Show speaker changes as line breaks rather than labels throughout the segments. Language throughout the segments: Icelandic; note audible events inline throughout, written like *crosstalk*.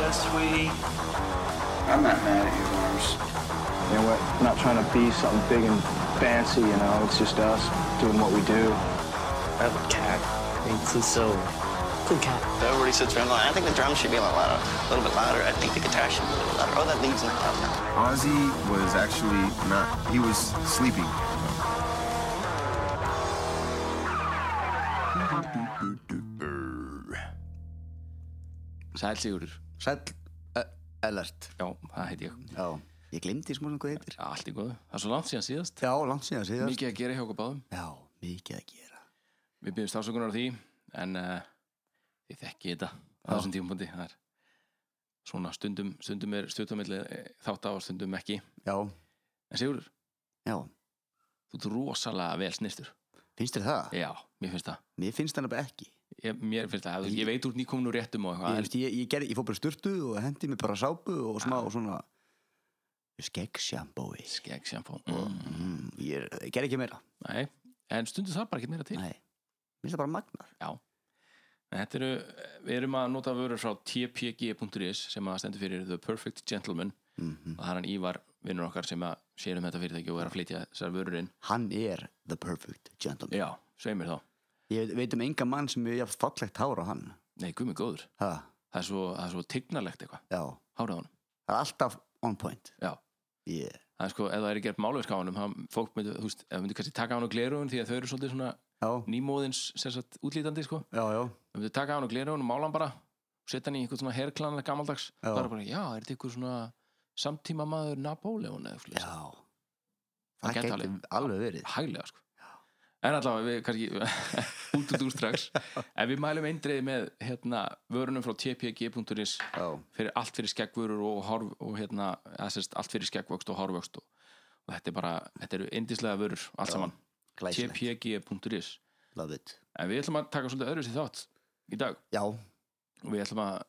Yes, sweetie.
I'm not mad at you, Lars.
You know, we're not trying to be something big and fancy, you know, it's just us doing what we do.
I have a cat. It's just so cool cat.
Everybody sits around going, I think the drums should be a lot louder, a little bit louder. I think the guitar should be a little louder. Oh, that lead's not loud enough.
Ozzy was actually not, he was sleeping.
Sæl Sigurður
Sæll Ö- Ellert
Já, það heiti ég
Já, ég glemdi smá sem hvað heitir
Allt í góðu Það er svo langt síðan síðast
Já, langt síðan síðast
Mikið að gera hjá okkur báðum
Já, mikið að gera
Við byrjum stafsökunar á því En uh, ég þekki þetta á
Já.
þessum tímapunkti Það er svona stundum Stundum er stuttamilli þátt á og Stundum ekki
Já,
En Sigurður,
já,
þú ert rosalega vel snirtur
finnst þér það?
Já, mér finnst það
Mér finnst það nefnilega ekki
Ég, mér finnst það, ég veit úr nýkominu réttum
ég,
og eitthvað en
veist, ég, ég, ger, ég fór bara í sturtu og hendi mér bara sápu og smá
Ah.
svona skeggsjambói
Skegg sjampó mm.
mm, Ég er- ég ger ekki meira
Nei, en stundum það bara ekki meira til
Nei, minnst það bara magnar
En Þetta eru, við erum að nota vörur frá tpg.is sem að stendur fyrir The Perfect Gentleman og það er hann Ívar, vinnur okkar sem að sér um þetta fyrirtæki og er að flytja þessar vörur inn
Hann er the perfect gentleman
Já, segir mér þá
Ég veit- veit um enga mann sem er jafn fallegt hára hann
Nei, gumi góður,
ha,
það er svo, það er svo tignarlegt eitthvað,
Já, það
hárað honum
er alltaf on point
Já,
yeah.
það er sko, ef það er gert málverk á honum þá fólk myndi, þú veist, ef myndi kannski taka á hann og gleruðun því að þau eru svolítið svona
Já,
nýmóðins sem sagt, útlítandi sko
já, já
ef myndi taka á hann og gleruðun og mála hann bara og setja hann í einhvern svona herklan gamaldags,
Já.
það er bara, já, er þetta einhver svona samtíma maður Napoleon eða eitthvað
Já
Það
Það
gæti
gæti
alveg-
alveg verið
hæglega sko. en allavega við kannski *laughs* út út úr strax en við mælum eindriði með hérna, vörunum frá tpg.is
Já,
fyrir allt fyrir skeggvörur og, horf, og hérna, eða sérst, allt fyrir skeggvöxt og hárvöxt og, og þetta er bara, þetta eru indislega vörur allt saman,
glæsilegt
tpg.is
Love it
en við ætlum að taka svolítið öðru sér þátt í dag
Já,
og við ætlum að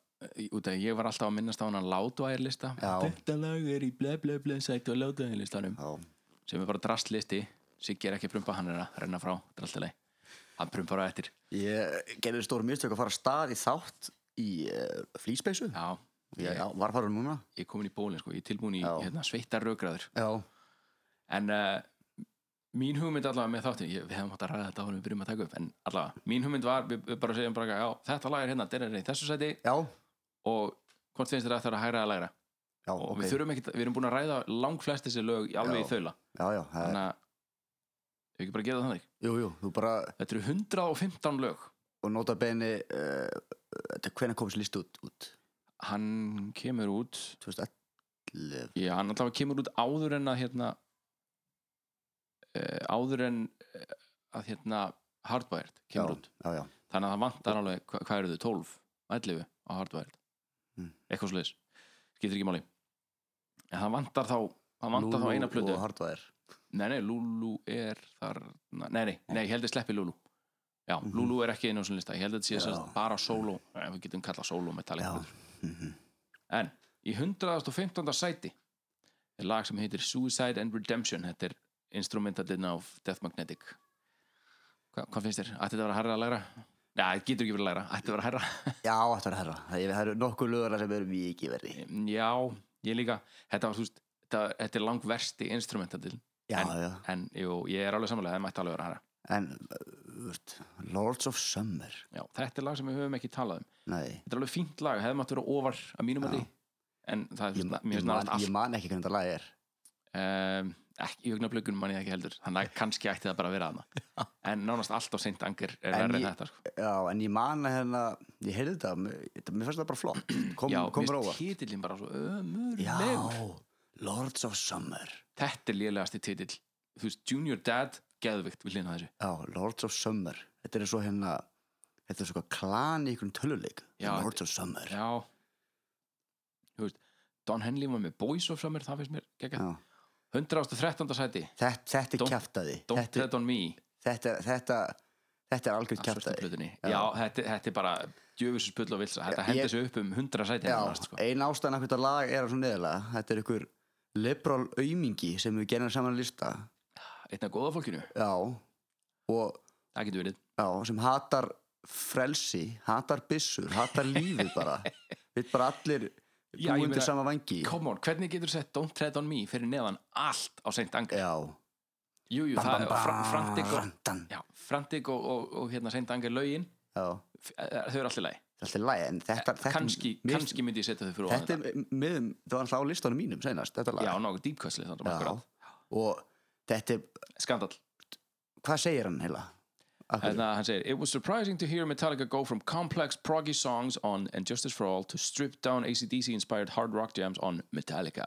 út að ég var alltaf að minnast á hana látvæðirlista
Já.
þetta lag er í ble ble ble sætt og látvæðirlistanum
já,
sem er bara drastlisti Siggi er ekki að prumpa, hann er að renna frá þetta er alltaf leið, hann prumpar á eftir
Ég gerði stór mistök að fara af stað í þátt í uh, flýspeysu
já,
Ég
ég,
já, var að fara núna
ég er komin í bólin sko, ég er tilbúin í
Já.
hérna, sveittar rökraður
Já,
en uh, mín hugmynd allavega með þáttin ég, við hefum átt að ræða þetta á hann við byrjum að taka upp en allavega, mín hugmynd var, við, við bara segjum bara, já, þetta lag er hérna, þetta er í þessu sæti
já,
og hvort finnst þér að það er að hægra að lægra
já,
og
ok
við þurfum ekki, við erum búin að ræða langflest þessi lög í
Já.
alveg í þaula
Já, já, það er,
þannig að, ef ekki bara gera það þannig
jú, jú, þú bara
þetta eru 115 lög
og nota beni uh, þetta hvenær komst listu út, út
hann kemur út
2011
Já, hann alltaf kemur út áður en að hérna uh, áður en uh, að hérna hardwired kemur
já,
út
já, já,
þannig að það vantar alveg, hva, hvað eru þau, 12 11 á hardwired
Mm.
eitthvað sliðis, skiptir ekki máli en það vantar þá það vantar þá eina plötu,
og hardvæðir
nei nei, Lulu er þar, nei nei, nei, ég held að sleppi Lulu já, Lulu er ekki einu og svona lista, ég held að þetta sé
Mhm. Já.
sem sagt bara solo, ef við getum kallað solo metallic
Já,
plötur.
mhm.
En í 115. sæti er lag sem heitir Suicide and Redemption Þetta er instrumentalinn af Death Magnetic Hva, Hvað finnst þér? Ætti þetta að vera hærra að læra? Já, þetta getur ekki verið að læra Ætti þetta að vera hærra?
já, þetta er herra það það eru nokkuð lögurna sem eru mikið verri
Já, ég líka Þetta, var, þú veist, þetta, þetta er langversti instrumentalinn
Já,
En-
já,
En jú, ég er alveg samanlega, það mætti alveg vera hærra
en uh, veit, Lords of Summer
Já, þetta er lag sem við höfum ekki talað um
Nei,
Þetta er alveg fínt lag, hefði mátt vera ofar að mínum
Já.
að því En það
ég,
er,
ég,
mér finnst
man,
náttúrulega allt
ég man ekki hvernig þetta lag er
um, ekki, í augnablökunum mann ég það ekki heldur þannig að kannski ætti það bara að
*laughs*
vera hana en nánast allt á seint angir er
En
verið
ég-
en þetta sko.
Já, en ég man að hérna, ég heyrði þetta, mér, þetta- mér fannst það bara flott,
*clears throat*
kom,
já,
kom
mér
róa.
finnst titillin bara svo ömurlegur
Já, Lords of Summer.
þetta er lélegasti titill þú veist, Junior Dad, geðvikt við hlýna þessu
Já, Lords of Summer. Þetta er svo hérna, þetta er svo hvað klan í einhvern töluleik.
Já,
Lords of Summer. Já,
já þú veist, Don Henley var með Boys of Summer, það finnst mér geggjað 113. sæti,
Þetta, þetta er
Don't-
kjaftaði.
Don't
Þetta,
Tread on Me
þetta, þetta, þetta er algjörð
af svörtu
kjaftaði.
plötunni.
Já.
já, þetta, þetta er bara djöfisins pull og vilsa, þetta
Já,
hendur
ég-
sig upp um 100 sæti
Já,
nánast, sko.
ein ástæðan af hvernig þetta lag er á svo neðalega, þetta er einhver liberal aumingi sem við gerum saman lista.
einna góða fólkinu,
Já, og
það getur verið
Já, sem
*laughs*
hatar frelsi, hatar byssur, hatar lífið bara. Við bara allir
Já,
búið
ég
undir
meina-
sama vangi
Come on, hvernig getur sett Don't Tread On Me fyrir neðan allt á seint angri?
Já
Jú, jú, það er fr frantik og,
Randan.
já, frantik og, og, og hérna seint angri lögin,
Já,
f- eh, þau eru allir lægi.
það er alltaf læg En þetta, þetta
Kanski,
mér-
Eh, kannski myndi ég setja þau fyrir
Þetta er miðum, það var alltaf á listanum mínum senast Þetta lag
Já, nokkuð dýpkvæsli þannig
Já.
akkurat.
Og þetta er,
Skandal.
hvað segir hann heila?
Þannig að hann segir eh, It was surprising to hear Metallica go from complex proggy songs on And Justice for All to stripped down ACDC inspired hard rock jams on Metallica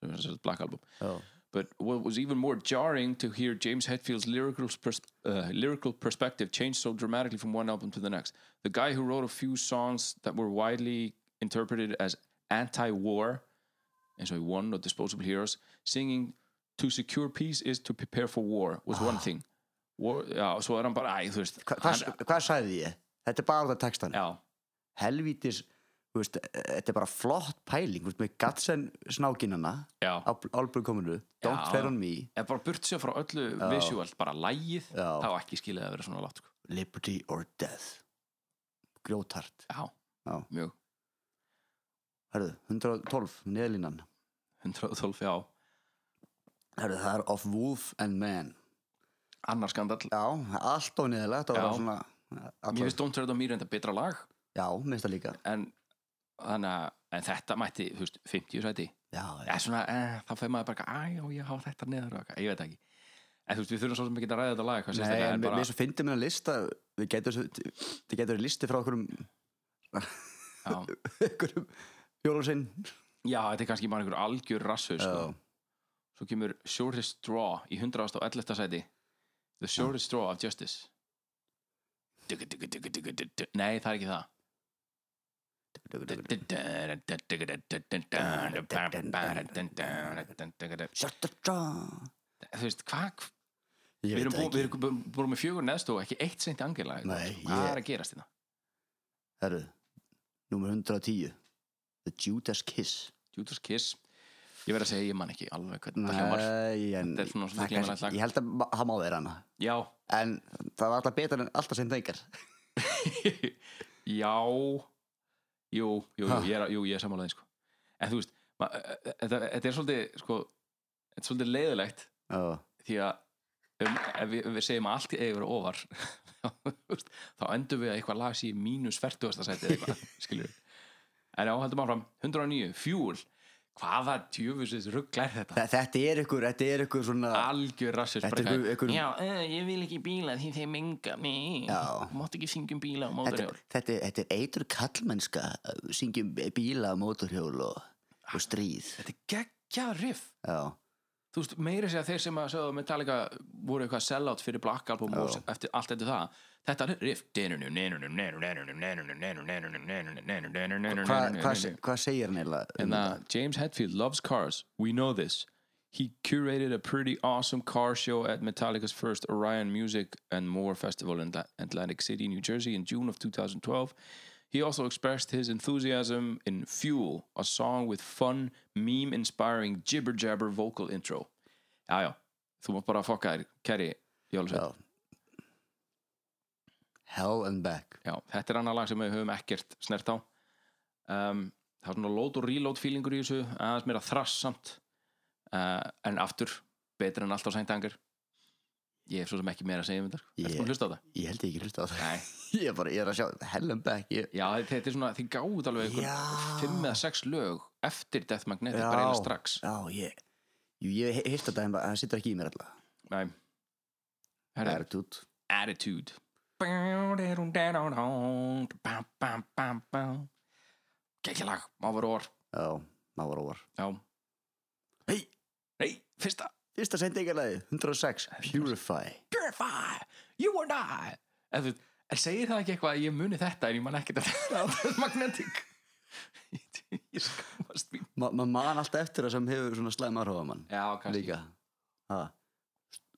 sem er sem sagt Black Album
Já.
But what was even more jarring to hear James Hetfield's lyrical, pers- uh, lyrical perspective change so dramatically from one album to the next. The guy who wrote a few songs that were widely interpreted as anti war, and so he won or Disposable Heroes, singing To secure peace is to prepare for war was one thing. War, já, svo er hann bara, æ, þú veist
Ah. Hva, hvað,
hann,
hvað sagði ég? Þetta er bara það textan
Já,
Helvítis, þú veist, þetta er bara flott pæling þú veist, Með gatsen snákinana
já
á Álbjörg kominu Don't
Já.
fair on me,
Ef bara burt sér frá öllu visuált, bara lægið
Já.
þá ekki skilið að vera svona látt sko.
liberty or death Grjóthart
Já,
Já.
mjög
Hörðu, 112, neðlínan
112, já,
Hörðu, það er Of Wolf and Man
annar skandall
Já, allt og neðlega Þetta
Já.
var svona
Mér
allar,
finnst Don't Tread on Me reynda betra lag
Já, mér finnst það líka
en, þannig að, en þetta mætti þú veist, 50 sæti
Já,
ja, svona, eh, þá fer maður bara að já, ég hafa þetta neður og eitthvað, ég veit ekki en þú veist, við þurfum svo sem ekki að ræða þetta lag hvað
Nei,
sérstaklega,
en
en
mér
bara,
mér svo fyndum við að lista við getur, við getur listi frá okkurum
já,
okkurum fjólusinn
já, þetta er kannski bara einhver algjör rassu sko. svo kemur Shortest Straw í 111. sæti The Shortest Straw of Justice Dugga, dugga, dugga, dugga, dugga, dugga. Nei, það er ekki það
Shut the draw
Þú veist, hvað
Ég
Við
veit
erum búin,
það
við
ekki
erum bú- búin með fjögur neðst og ekki eitt seint angela
Nei,
Hvað
ég-
er að gerast hérna? þetta?
Herru, númer 110 The Judas Kiss
Judas Kiss Ég verð að segja, ég man ekki alveg hvernig þetta hljómar
Nei, en
Þetta er svona svona
það kannski-
glimrandi lag.
Ég held að ma- það má vera hana
Já,
En það var alltaf betur en alltaf sem þengar
já Jú, jú, jú,
Ha.
ég er, jú, ég er sammálaðið sko. En þú veist, ma- eh, eh, þetta þetta er svolítið sko, þetta er svolítið leiðilegt
Já,
því að um, ef, við, ef við segjum að allt eigi að vera ofar *laughs* þú veist, þá endur við að eitthvað lag sé í mínus 40. sæti eða
*laughs*
eitthvað, skilur við en já, heldum áfram, 109, fjúl hvaða djöfusins ruggla er þetta
Þa- Þetta er ykkur, þetta er ykkur svona
algjör rassist
Þetta er einhver- einhver-
já, eh, ég vil ekki bíla því þeir menga mig
Já.
mátt ekki syngjum bíla á
þetta,
móturhjól
þetta, þetta er eitur kallmennska syngjum bíla, móturhjól og, og stríð
þetta er geggjað riff
Já,
þú veist, meira segja þeir sem að sögðu Metallica voru eitthvað sellout fyrir Black Album og eftir, allt eftir það þetta riff
hvað hva,
en
hva segir hann eiginlega um
það uh, James Hetfield loves cars, we know this he curated a pretty awesome car show at Metallica's first Orion Music and More Festival in Atla- Atlantic City, New Jersey in June of 2012 he also expressed his enthusiasm in Fuel a song with fun, meme-inspiring jibber jabber vocal intro Já, já, þú mátt bara fokka þér, Kerry Jólusveit.
Já. Hell and Back
Já, þetta er annað lag sem við höfum ekkert snert á. Um, það er svona load og reload feelingur í þessu, aðeins meira þrassamt, uh, en aftur, betur en allt á sæntangar. Ég er svo sem ekki meira að segja um þetta. sko. Ertu
Ég-
búin að hlusta á það?
Ég held ég ekki hlusta á það
Nei.
*laughs* Ég er bara, ég er að sjá Hell and Back ég,
Já, þetta er svona, þið gáðu alveg einhver
Já.
fimm eða sex lög eftir Death Magnetic,
Já.
bara eiginlega strax.
Já, ég Jú, ég hef hýrt þetta en bara- það sittur ekki í mér alltaf
Nei.
Það
Herra,
er út
attitude Gekkjalag, mávaror
Já, maður óvar
Já Hei, hei, fyrsta
Fyrsta sendingarlæði, 106 Purify
Purify, you and I En, þú- en segir það ekki eitthvað að ég muni þetta en ég man ekkert að þetta er magnetic Ég, ég skammast mín
Ma- Maður man alltaf eftir það sem hefur svona slæma hrófa mann
Já, kannski
Líka Ha.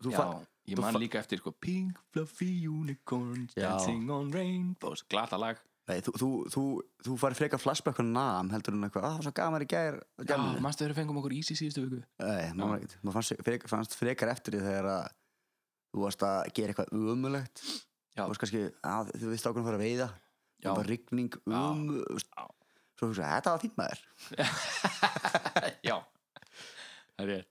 Þú
Já,
fann
ég
þú
man
fa-
líka eftir sko, Pink fluffy unicorns
Já.
dancing on rainbows Glata lag
Nei, þú, þú, þú, þú farið frekar flashback á nam heldur en eitthvað, að það var svo gaman í gær og
Já,
gamli."
manstu þegar við fengum okkur ís í síðustu
*laughs*
viku
Nei, maður, ekkert. maður fannst, frekar, fannst frekar eftir því þegar að þú varst að gera eitthvað umulegt
Já.
þú varst kannski, að, þú veist ákveðin að fara að veiða
Já.
það var rigning um,
Já.
svo hugsa, þetta var fínt maður
Já Það er rétt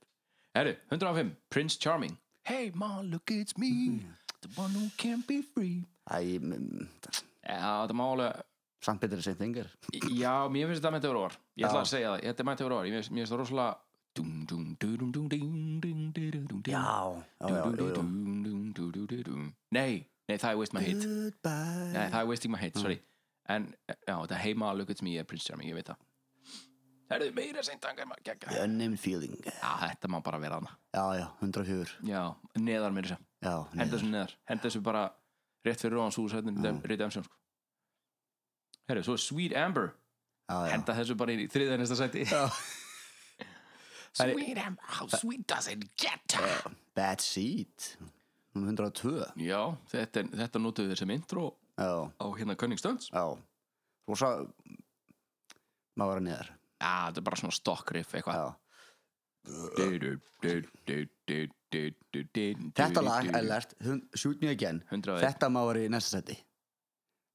Herru, 105, Prince Charming Hey ma, look it's me
Mm.
The one who can't be free
Æ, mm, það-
Já, þetta má alveg
samt betur en seint engar
Já, mér finnst þetta mætti vera orð Ég ætla
Já.
að segja það, þetta mætti vera orð Ég finnst- Mér finnst það rosalega Dum, dum, dum, dum, dum, dum, dum, dum, dum, dum.
já, já, já, já.
Nei, nei, það er Waste My Hit
Goodbye
Nei, það er Wasting My Hit, sorry
Mm.
En, já, þetta heima Look It's Me er Prince Charming, ég veit það Það eru meira seint angar maður gegga
The unnamed feeling
Já, þetta má bara vera hana
Já, já, 104
Já, neðar mér þess að
Já,
Henda
neður.
þessu neðar, henda þessu bara Rétt fyrir róðan súsætnin
Mm.
Redemption, sko Herru, svo er Sweet Amber
já, já.
Henda þessu bara í þriðja næsta
*laughs*
sæti
Já. er-
Sweet Amber, how sweet does it get
Bad Seed Númer 102
Já, þetta, er- þetta notuðu þeir sem intro
Já,
á hérna Cunning Stunts
já Rosa Má vera neðar
Já, þetta er bara svona stock riff eitthvað
Já Þetta lag er lært hun- Shoot me again
100
Þetta má vera í næsta seti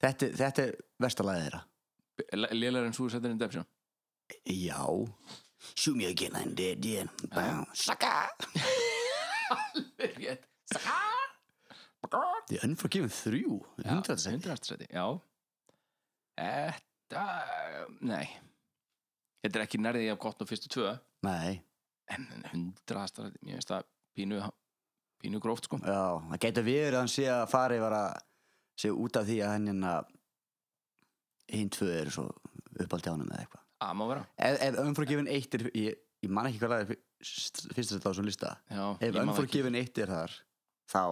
Þetta, þetta er vestalagið þeirra
Lélar en Suicide and *laughs* Redemption
Já Shoot me again, I'm dead again Bá, Sucker
Rétt.
The Unforgiven 3
Já,
100 seti
100 sæti, já Þetta Nei Þetta er ekki nærðið af gott og fyrstu tvö
Nei,
En 100 sæti, mér finnst það pínu pínu gróft sko
já, það gæti verið að hann sé að fari var að sé út af því að hann hérna hinn tvö eru svo uppaldi ánum eða eitthvað
Að má vera
Ef, ef Unforgiven 1 er, ég, ég man ekki hvað lagði fyrst þetta á svona lista
já,
Ef
ég man það ekki.
Unforgiven 1 er þar þá,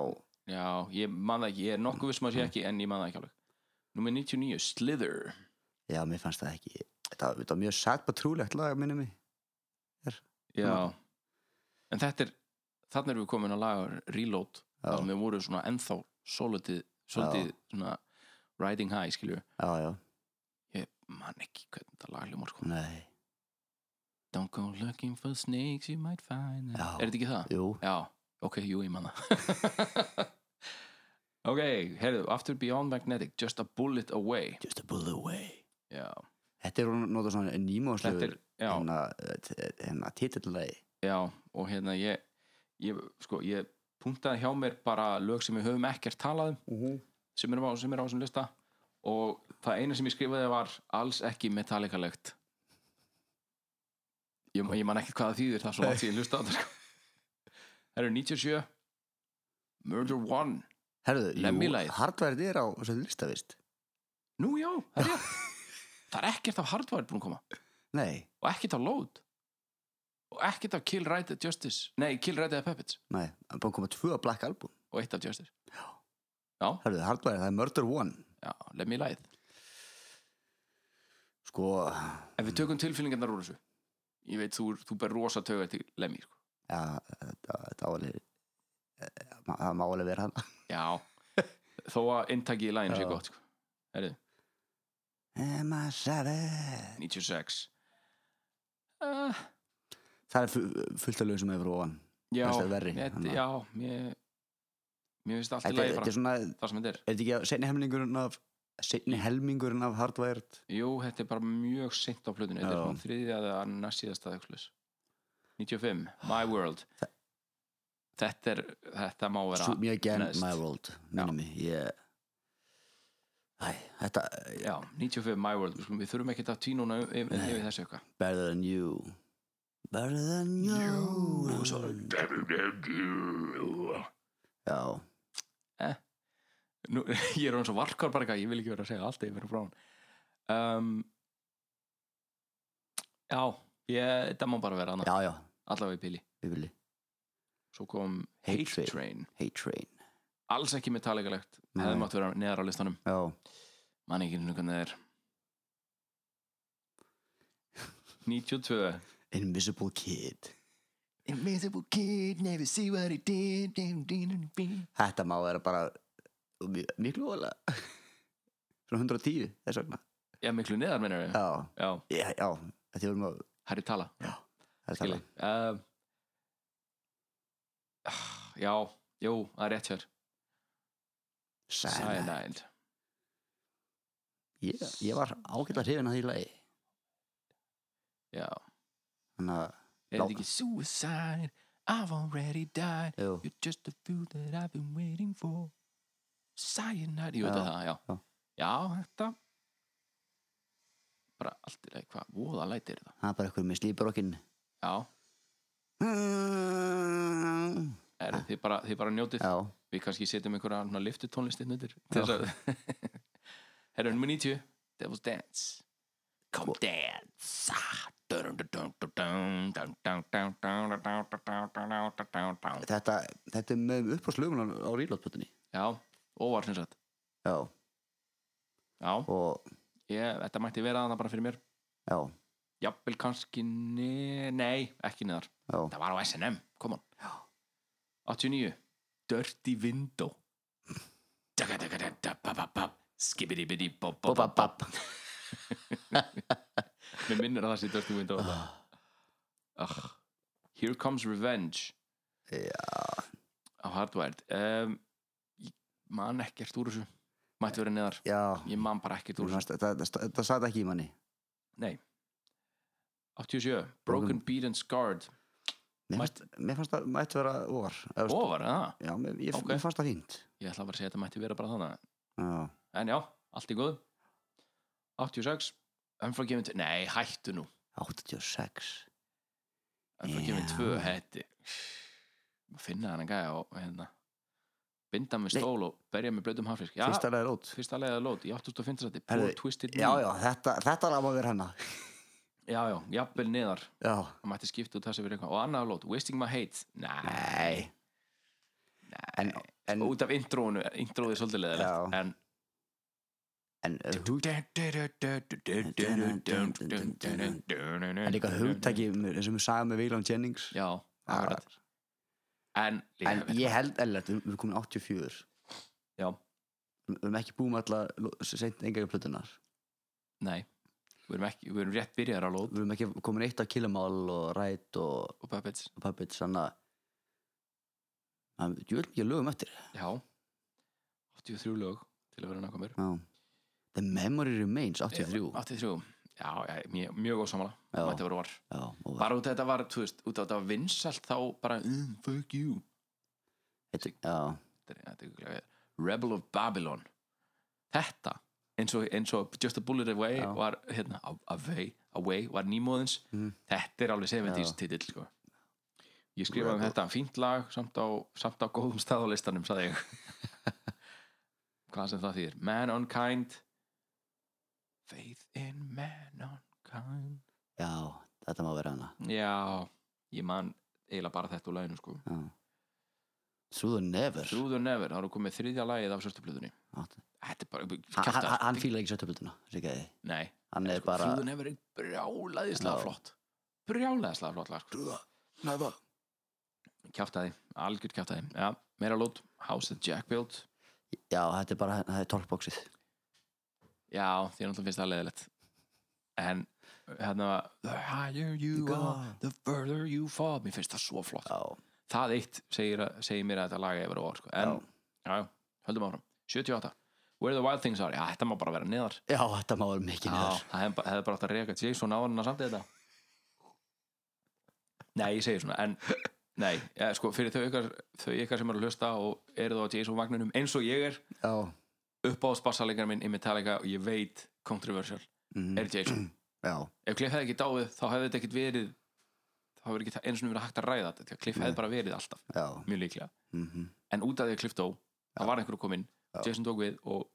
Já, ég man það ekki, ég er nokkuð vissum að sé ekki En ég man það ekki alveg Númer 99, Slither
já, mér fannst það ekki þetta var, þetta var mjög satt bara trúlegt lag minni mig
Já En þetta er, þannig erum við komin að laga Reload, þar sem við voru svona ennþá svolítið, svolítið svona riding high, skilju
Já, já,
Ég man ekki hvernig þetta lag hljómar sko
nei,
Don't go looking for snakes you might find them.
Já.
Er þetta ekki það?
jú
Já, ok, jú, ég man það *laughs* Ok, heyrðu, After Beyond Magnetic Just a Bullet Away
Just a bullet away
Já,
Þetta er hún notað svona
þetta
nýmóðslöfur
er, já,
hérna, eh, t- hérna titillagi
já og hérna ég, ég sko, ég punktaði hjá mér bara lög sem við höfum ekkert talað um sem er á, sem er á þessum lista og það eina sem ég skrifaði var alls ekki metallikalegt ég, ég man ekkert hvað það þýðir það er svo langt síðan ég hlusta á þetta sko. *laughs* það eru 97 Murder One
Herðu, jú,
Lemmy-lagið.
hardværið er á þessu lista, vist?
nú já, það er rétt það er ekkert af hardware búin að koma
Nei,
og ekkert af load og ekkert af Kill Right at Justice nei, Kill Right at Puppets
nei, það er búin að koma tvö Black Album.
og eitt af Justice
Herðu, hardværið, það er Murder One.
já, leið mér læð
Sko,
ef við tökum tilfyllingarnar úr þessu ég veit, þú, þú ber rosa tögar til lemmi sko.
já, þetta þetta á alveg, eh, ma- það má alveg vera hann.
já, þó að inntaki í lægin sé
Já.
gott sko. Herðu,
Am I savage?
96 uh,
Það er fu- fullt af lög sem er frá ofan.
já,
Þetta er verri,
þetta-
þannig að-
já, mér mér finnst allt í
Þetta er,
lægi
þetta
bara
er svona,
það sem þetta er,
er þetta ekki að setni helmingurinn af, setni helmingurinn af hardværið?
jú, þetta er bara mjög seint á plötunni, þetta er
Já.
svona þriðja eða annars síðasta eða eitthvað svoleiðis. 95, My World þetta er, þetta má vera
Shoot me again,
neðst.
my world,
Já.
minni mig, ég... Æ, þetta, eh,
já, 95, My World, við, skulum, við þurfum ekki að tínuna yfir yfir þessu eitthvað
better than you. Better than you. Já.
Nú, *laughs* ég er hann svo varkar bara eitthvað, ég vil ekki vera að segja allt yfir og frá hann um, Já, ég, þetta má bara vera annað
Já, já,
allavega í pili,
yfirli
svo kom
Hate
Hate Train,
Train. Hate Train
alls ekki metallikalegt,
Nei.
hefði mátt vera neðar á listanum,
Já,
mann ekki hvernig það er 92
Invisible Kid
Invisible kid, never see what he did did, did, did, did.
Þetta má vera bara mi- miklu ólega *laughs* Svona 110 þess vegna
Já, miklu neðar mennur við
Já,
Já,
já, já Þetta vorum að
Harry Tala
það er
skilji
talað.
um, ah, já, jú, það er rétt hér
Cyanide
Cyanide
ég, ég var ágætlega hrifin að því lagi
já
þannig að
Er þetta ekki suicide? I've already died
Jú.
You're just a few that I've been waiting for Cyanide Jú,
Já,
þetta er það, já
já.
Já, þetta Bara allt í leið, hvað, voða læti er þetta
það er bara eitthvað með slíbrokkin
Já,
já,
er, þið, bara, þið bara njótið Við kannski setjum einhverja liftutónlist inn undir til þess að *laughs* Herra nummer 90 Devil's Dance Come dance Ah, dun, dun, dun, dun, dun, dun, dun, dun, dun, dun, dun, dun, dun, dun, dun, dun.
þetta, þetta er með uppháslugun á rýlótputinni
Já, óvar sem sagt
já,
Já,
og
ég, þetta mætti vera þarna bara fyrir mér
já,
jafnvel kannski ne nei, ekki neðar,
já,
það var á SNM come on 89, Dirty Window skibidi-bidi-bob-bob-bob *laughs* mér minnir að það sé Dirty Window oh. Here Comes Revenge
já
á Hardwired um, ég man ekkert úr þessu mætti vera neðar,
já,
ég man bara ekkert úr þessu
þetta satt ekki í manni
Nei 87, Broken
Broken-
Beat and Scarred
mér fannst, mér fannst það mætti vera óvar já,
Ó, var það?
mér, ég,
Ok.
mér fannst það fínt
Ég ætla bara að segja að þetta mætti vera bara þannig
já,
En já, allt í góð 86, Unforgiven 2 Nei, hættu nú,
86
Unforgiven
Já.
2 Hætti Finna hann en gæja og hérna Binda með
Nei.
stól og berja með blöðum hafrisk Já,
fyrsta leið rót
fyrsta leiða lót Í 85. sæti,
Herðu,
Poor Twisted
já,
Knee.
já, þetta, þetta er að maður vera hana
já, já, jafnvel niðar
já,
Það mætti skipta út þessi fyrir eitthvað Og annað lót, Wasting My Hate Nei,
nei en, en,
út af introinu Introið er svolítið leðilegt
Já.
En
en hug,
en
en líka hugtæki eins og við sagðum með William Jennings
já, akkurat en líka
en
vel-
ég held erlegt, við við erum komin 84
Já.
við við erum ekki búin með alla seint engaðu plötunar
nei, við erum, ekki, við erum rétt byrjar á lóð
við erum ekki komin eitt af Killamál og Rætt og
og Puppets,
Puppets þannig að- að ég vil ekki lögum eftir
já 83 lög til að vera nákvæmur Eh,
já. The Memory Remains 83
83, já, já mjög, mjög ósámála
Já.
mætti voru var
já, og
bara út af þetta var, þú veist, út af þetta var vinsalt þá bara, mm, fuck you
þetta, já,
Þetta er- þetta er örugglega- Rebel of Babylon þetta eins og, eins og Just a Bullet Away
Já.
var hérna, a- away, away var nýmóðins
Mhm.
þetta er alveg 70s titill sko. ég skrifaði um
Rebel-
þetta fínt lag samt á, samt á góðum stað á listanum sagði
*laughs*
ég hvað sem það þýðir Man Unkind Faith in Man Unkind
já, þetta má vera hana
já, ég man eiginlega bara þetta úr laginu sko
já. Through the Never
Through the Never, það eru komið þriðja lagið af sérstuplutunni
Átt-
Þetta er bara
Hann-
kjafta.
hann hann fílar ekki sjöttuplötuna
Nei,
hann er
sko,
bara
Through the Never er brjálaðislega
Já.
flott Brjálaðislega flott lag sko.
Never
Kjáftaði, algjör kjáftaði Já, meira lót, House that Jack Built
já, þetta er bara, það er tólkbóksið
Já, því er náttúrulega finnst það leiðilegt En hérna The higher you
You
are,
go.
the further you fall Mér finnst það svo flott
já,
Það eitt segir, að- segir mér að þetta laga yfir og var sko. En, já, já, höldum áfram 78, Where the Wild Things Are Já, þetta má bara vera neðar
já, þetta má vera mikið
Já,
neðar
það hefði bara, hef bara átt að reka Jason á hann að samt þetta Nei, ég segi svona en, Nei, ja, sko, fyrir þau ykkar, þau ykkar sem eru að hlusta og eru þá á Jason vagnunum eins og ég er
Já,
upp á spassaleggar minn í Metallica og ég veit controversial
mm,
er Jason
já,
Ef Cliff hefði ekki dáið þá hefði þetta ekkit verið þá hefði ekki það eins og verið hægt að ræða þetta því að Cliff hefði bara verið alltaf,
já
mjög líklega
mm
en út af því að Cliff dó, það var einhver að komin
Já.
Jason tók við og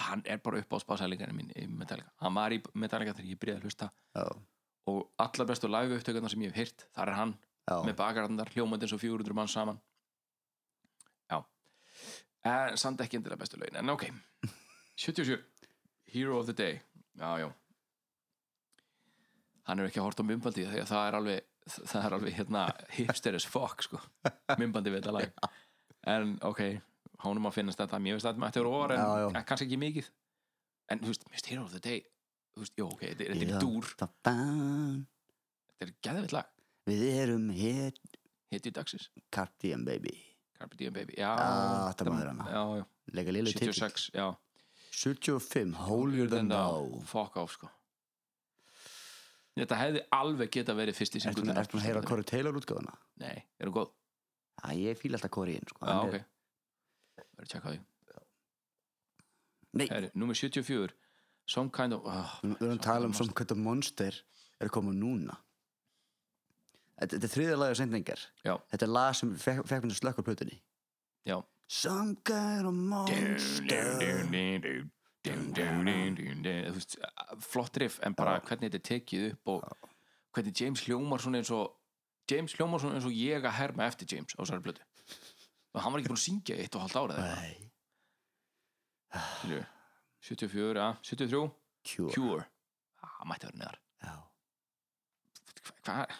hann er bara upp á spassaleggarinn minn í Metallica hann var í Metallica þegar ég byrjaði að hlusta
Já,
og allar bestu live upptökurnar sem ég hef heyrt þar er hann
já,
með bakararnar hljómandi eins og 400 mann saman já en samt ekki endilega bestu laun en ok
*laughs*
77 Hero of the Day já já hann er ekki að horta á mymbandi því að það er alveg það er alveg hérna hipster as fuck sko mymbandi við þetta
*laughs*
lag en ok hánum að finnast þetta mér finnst þetta með þetta eru óvar en,
Já, já.
en Eh, kannski ekki mikið en þú veist, mér finnst Hero of the Day þú veist, jú ok, þetta er- þetta
Já.
er dúr
Það bán,
þetta er geðvitt lag
Við erum hér
Hiti dagsins,
Cartian baby
Carpe Diem Baby Já,
Já, Ah, þetta
það-
maður hérna. hana.
já, já,
Lega liðlega til
76, já
75, holier than
Then
thou
Fuck off, sko Þetta hefði alveg geta verið fyrsti
Ertu
singulinn.
ertu búin að heyra Corey Taylor útgáðuna?
Nei, er hún góð?
Já, ég fíla alltaf Corey inn sko.
Já,
Hann
Ah, ok.
er-
Verður að tjekka á því.
Nei,
Herri, númer 74. Some kind of... Oh,
við við erum að tala um svona hvernig monster er komið núna Þetta, þetta er þriðja lagi á sendingar
Já.
Þetta er lag sem fekk, fekk mér slökk á plötunni
Já.
Some kind of monster
Þú veist, flott riff en bara
Já.
hvernig þetta er tekið upp og hvernig James hljómar svona eins og James hljómar svona eins og ég að herma eftir James á þessari blötu og hann var ekki búin að syngja í eitt og halvt ára
Nei,
þegar 74, ja, 73
Cure,
Cure, það mætti að vera neðar
Já.
Hva- hvað er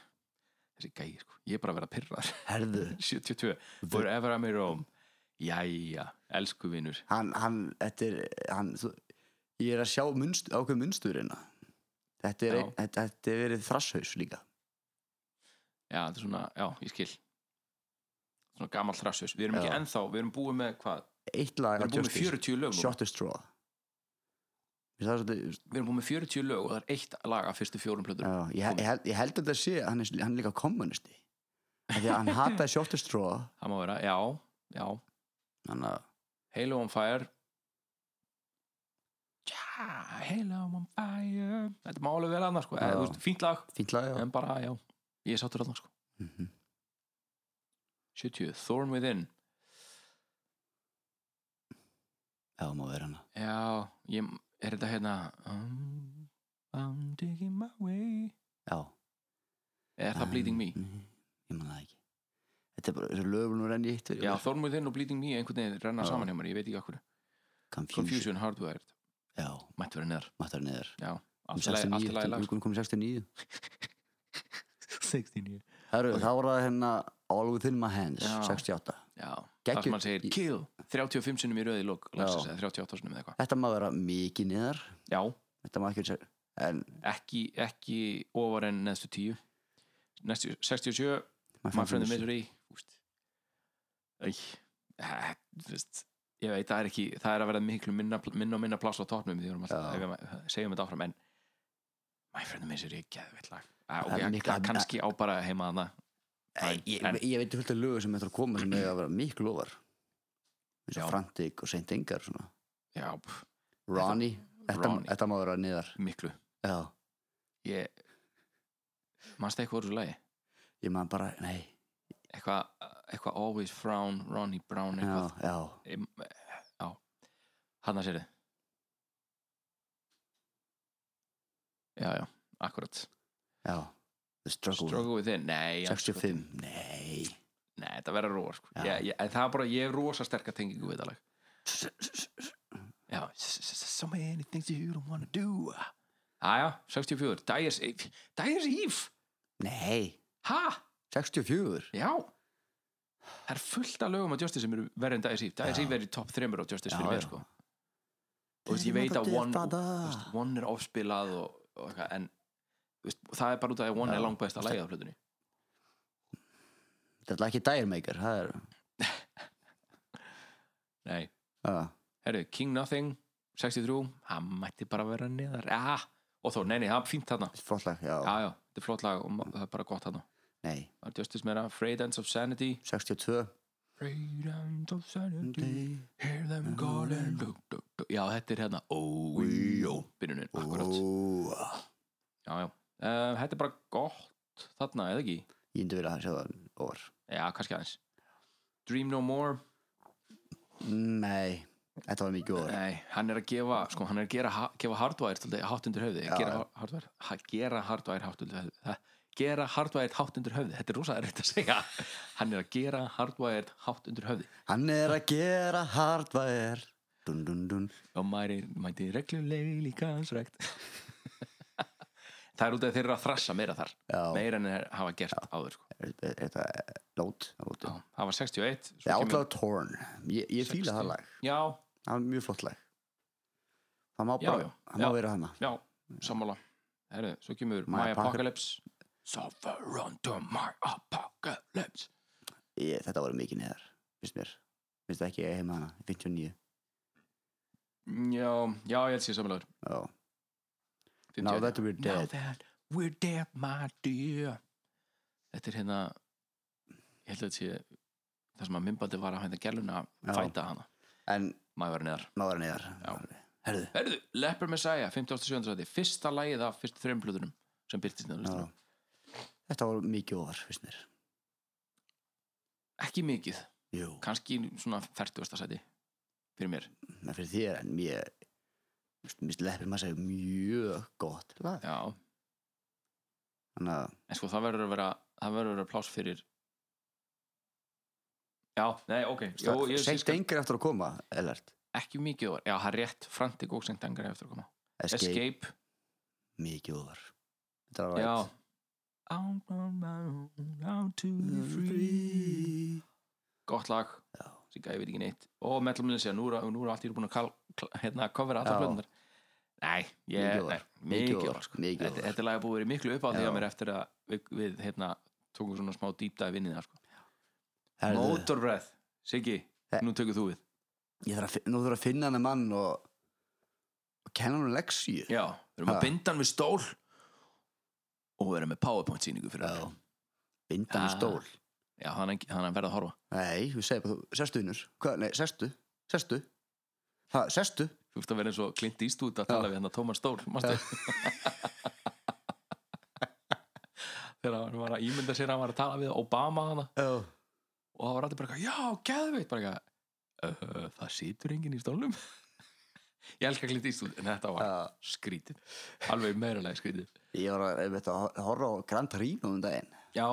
þessi gæi, sko, ég er bara að vera pyrrar *laughs*
Herðu
72, Forever I'm in Rome jæja, elsku vinnur
hann, hann, þetta er hann, þú, ég er að sjá munst, ákveð munsturina þetta er,
Já.
ein, þetta, þetta er verið þrasshaus líka
Já, þetta er svona,
Mm.
já, ég skil Svona gammal þrasshaus Við erum
Já.
ekki ennþá, við erum búið með hvað
eitt
Við
lag
erum búið með 40 lög núna.
Shot a Straw Mér finnst það svolítið,
Við erum búið með 40 lög og það er eitt lag af fyrstu fjórum plötur
já, ég, he- ég, held, ég held að þetta sé að hann er, hann er líka kommunisti Af því að hann hataði Shot a Straw
Það má vera, já, já
þannig að
Halo on Fire Já, Halo on Fire Þetta má alveg vera annars, sko
Já.
Eða, þú veist, Fínt lag,
fínt lag já.
en bara, já Ég er sáttur annars, sko
Mm
70, Thorn Within
já, má vera hana
Já, ég, er þetta hérna um, I'm digging my way
já,
Er það Bleeding Me?
Mm, ég man það ekki þetta er bara, þessu lögum nú renni eitt
Já, Thorn Within og Bleeding Me einhvern veginn renna
Já.
saman hjá mér, ég veit ekki okkur
Confusion
Confusion Hardware
já,
mætti vera neðar
maður niður um
allt í lagi- allt í
69,
lagi lag
við
sko.
komum komin 69
69
Herru,
Ok.
þá var það hérna All Within My Hands,
Já.
68
já,
Geggjur.
það sem hann segir
Í-
kill 35 sinum í röði lók
Já.
38 sinum eða eitthvað
Þetta má vera mikið niðar
já,
Þetta má ekki sér En
ekki, ekki ofar en neðstu 10 Næstu, 67 My Friend the Misery úst. Æ, eh, þú veist, ég veit það er ekki það er að vera miklu minna, minna og minna pláss á topnum því við erum
Já.
alltaf, ef við segjum þetta áfram en My Friend the Misery er geðveitt lag Ah,
Það er
ok,
mikla-
það kannski á bara heima þarna
Nei, Ég,
En-
ég veit fullt að lögu sem þetta er að koma sem hefur að vera mikið lofar eins
Já.
og Frantic og Saint Ingar svona.
já, pff,
Ronnie, þetta,
Ronnie.
þetta má vera niðar
miklu
Já,
ég mannstu eitthvað úr þessu lagi
ég maður bara, nei
eitthvað eitthva Always Frown, Ronnie Brown
Já,
eitthvað
já,
Em, já hann að sér þið já, já, akkurat
já The Struggle,
Struggle Within, nei andskot-
65, nei
nei, þetta verður róa sko.
Já.
ég, ég, en það er bara, ég er rosa sterka tengingu við þetta lag já s- s- s- so many things you don't wanna do aðja, 64 Dyer's Eve Dyer's Eve,
Nei,
hæ?
64
Já Það er fullt af lögum á Justice sem eru verið en Dæsíf Dæsíf er í topp þremur á Justice
Já,
fyrir mér
já.
sko og þú veist, ég veit að One þú veist, One er ofspilað og, og eitthvað, en þú veist, það er bara út af því að One
Já.
er langt bæðist að lægja á plötunni
Þetta er ekki Dyremaker, það er
Nei,
Já,
herru, King Nothing 63, hann mætti bara vera neðar ja. og þó, nei, nei, það er fínt þarna
flott lag, já,
Já, já, þetta er flott lag og ma- það er bara gott þarna
nei
Það er Justice meira, Afraid Ends of Sanity
62
Afraid Ends of Sanity Hear them calling dú, dú, dú. Já, þetta er hérna Ójó Byrjunin, akkurat
Ó,
Já, já Eh, Þetta er bara gott þarna, eða ekki?
Ég indi vilja að sjá það over
Já, kannski aðeins Dream No More
Nei, þetta var mikið over
Nei, hann er að gefa sko, hann er að gera, ha- gefa hardwire til hátt undir höfði
Já,
gera,
já.
ha- hardwire, ha, gera hardwire hátt undir höfði ha, gera hardwire hátt undir höfði þetta er rosa erfitt
*laughs*
að segja hann er að gera hardwire hátt undir höfði
Hann er að gera hardwire Dun dun dun
og mæri, mæti reglulegli kansrækt *laughs* það er út af þeirra að þrassa meira þar
Já,
meira en þeir hafa gert áður sko.
er- er- þetta er lót lóti.
já, það var 61 svo
The
kemur-
Outlaw Torn Ég, ég fíla
60.
það lag,
já,
það er mjög flott lag Það má
Já,
bara,
já,
það má
já.
vera hana
já, sammála Heru, svo kemur
My
My,
Apocalypse.
Apocalypse Suffer unto my apocalypse
ég, Þetta voru mikið neðar, finnst mér Finnst það ekki að heima hana, 59
já, já, ég held sér sammálaður
Já,
58.
Now that we're
Now
dead
that We're dead, my dear Þetta er hérna ég held að þetta sé það sem að mymbandi var að hérna gæluna
Já.
fæta hana,
en
maður verið neðar
maður er niðar herðu,
Herðu, Leper Messiah, 57. sæti fyrsta lagið af fyrstu þreim plötunum sem hérna byrtist neður
já.
listanum.
þetta var mikið ofar, finnst mér
ekki mikið,
jú,
kannski svona 40. sæti fyrir mér
en fyrir þér en mér minnst leppir maður segja mjög gott lag
Já,
þannig að
en sko það verður að vera það verður að vera pláss fyrir Já, nei, ok Jó,
Jó,
ég, ég
seint
skal
engar eftir að koma Ellert
ekki mikið ofar Já, það er rétt, Frantic og Sengt Engar eftir að koma
Escape,
Escape,
mikið ofar þetta var
já
right.
Out on my own, out to be free Gott lag,
Já.
Sigga, ég veit ekki neitt Og Metal Militia, nú eru nú er allt í búin að kal, kl, hérna, covera
Já.
allar blöndar Nei,
Mikið
ég,
ofar,
nei, mikið ofar sko.
mikið
Þetta
ofar.
þetta lag er búið að vera í miklu upp á því
Já.
að mér eftir að við, við hérna, tókum svona smá dýpdæði vinnið það sko.
Herðu,
Motorbreath, Siggi,
He-
nú tökur þú við
ég þarf að, fin- nú þarf að finna hann mann og, og kenna hann leksíu
Já, við erum
Ha.
að binda hann við stól og við erum með powerpoint síningu fyrir
Já.
hann
binda hann
Ah.
í stól
Já, hann hann er verið að horfa
nei, þú segir bara þú, sestu innur hvað, nei, sestu, sestu ha, sestu,
Þú veist að vera eins og Clint Eastwood að tala við hann að Tóman Stól manstu? *laughs* Þegar hann var að ímynda sér að hann var að tala við Obama hana
já,
og það var allir bara eitthvað, já, geðveitt bara eitthvað, "Ö, það situr enginn í stólnum *laughs* Ég elska Clint Eastwood en þetta var
já.
skrítið alveg meiralega skrítið
ég var að, einmitt að hor- horfa á Gran Torino um daginn
Já,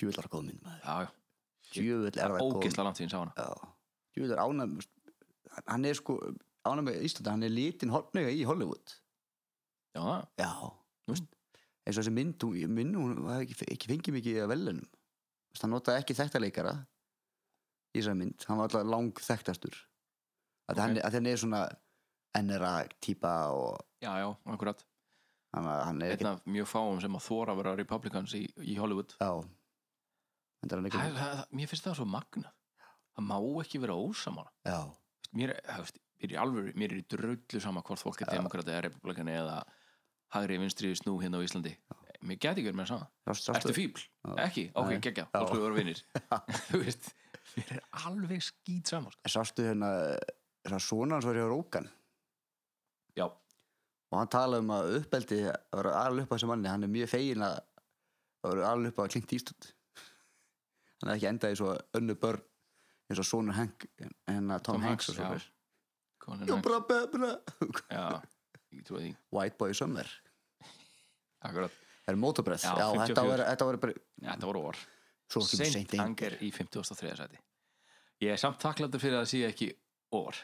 djúvill er góð mynd maður
já, já,
djúvill er það góð
ógeðslega langt síðan sá hana
Já, jú, það er ánæm hann er sko, ánæm með Íslanda hann er lítinn hornega í Hollywood
Já, það,
Já,
Nú veist.
eins og þessi mynd hún, mynd, hún var ekki, ekki fengið mikið af velunum hann notaði ekki þekktarleikara í þessari mynd, hann var alltaf lang þekktastur að
Ok.
hann, að hann er svona ennera típa og
já, já, akkurat
hann, hann er ekki
einn af mjög fáum sem að þóra að vera republikans í, í Hollywood
Já, hann er hann
það,
ekki
það, það, mér finnst það svo magnað það má ekki vera ósamála
Já,
mér, er- það veist, mér, er í alvöru- mér er í drullu sama hvort fólk er
Já.
demokrata eða republikani eða hagri vinstri snú hérna á Íslandi mér geti ekki verið með það
sástu,
sama ertu fíbl?
Já.
ekki? ok,
Nei.
geggja,
Já.
þá skulle við
*laughs*
vera vinnir þú veist, mér er alveg skýt sama sko.
sástu hérna svona svona hans var hjá Rókan
já,
og hann talaði um að uppeldi að vera alveg upp á þessu manni, hann er mjög fegin að að vera alveg upp á klingt ístund hann er ekki endað í svo önnu börn eins og sonur Hank en að Tom,
Tom
Hanks, og
Hanks,
svo
já.
fyrst
Colin
já,
Hanks.
bara, bara, bara
já, ég trúi því
*laughs* White Boy Summer,
akkurat,
það er mótobrett
Já,
já, þetta
54.
var, þetta var bara
þetta voru orð
svo ekki
Saint
seint einn
Anger í 53. sæti Ég er samt þakklættur fyrir að það sé ekki over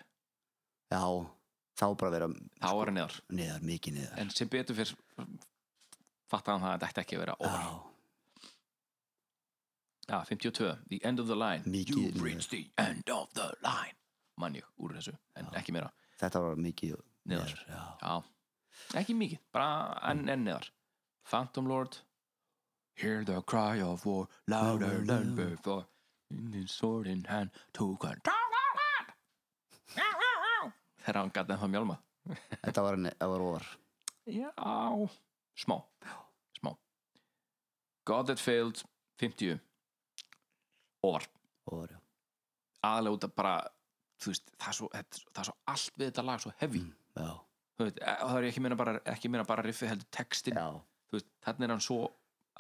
já, þá bara vera
þá var hann neðar,
niðar, mikið niðar
en sem betur fyrir fatta hann það að þetta ætti ekki að vera over
já,
Já, 52, The End of the Line
Mikið
You've
niður.
reached the end of the line mann ég úr þessu, en ekki meira
þetta var mikið niðar
neðar,
já,
já, ekki mikið bara enn en neðar Phantom Lord Hear the cry of war louder than before In the sword in hand to control the land Þegar hann gæti ennþá mjálma
þetta var, ne- það var ofar
Já Smá Smá God That Failed 50 Or
ofar, já,
aðalega út að bara þú veist, það er svo, þetta- það er svo allt við þetta lag svo heavy mm.
já,
veist, e- og það er ég ekki meina bara, ekki meina bara riffið heldur textin
já.
Þú veist, þannig er hann svo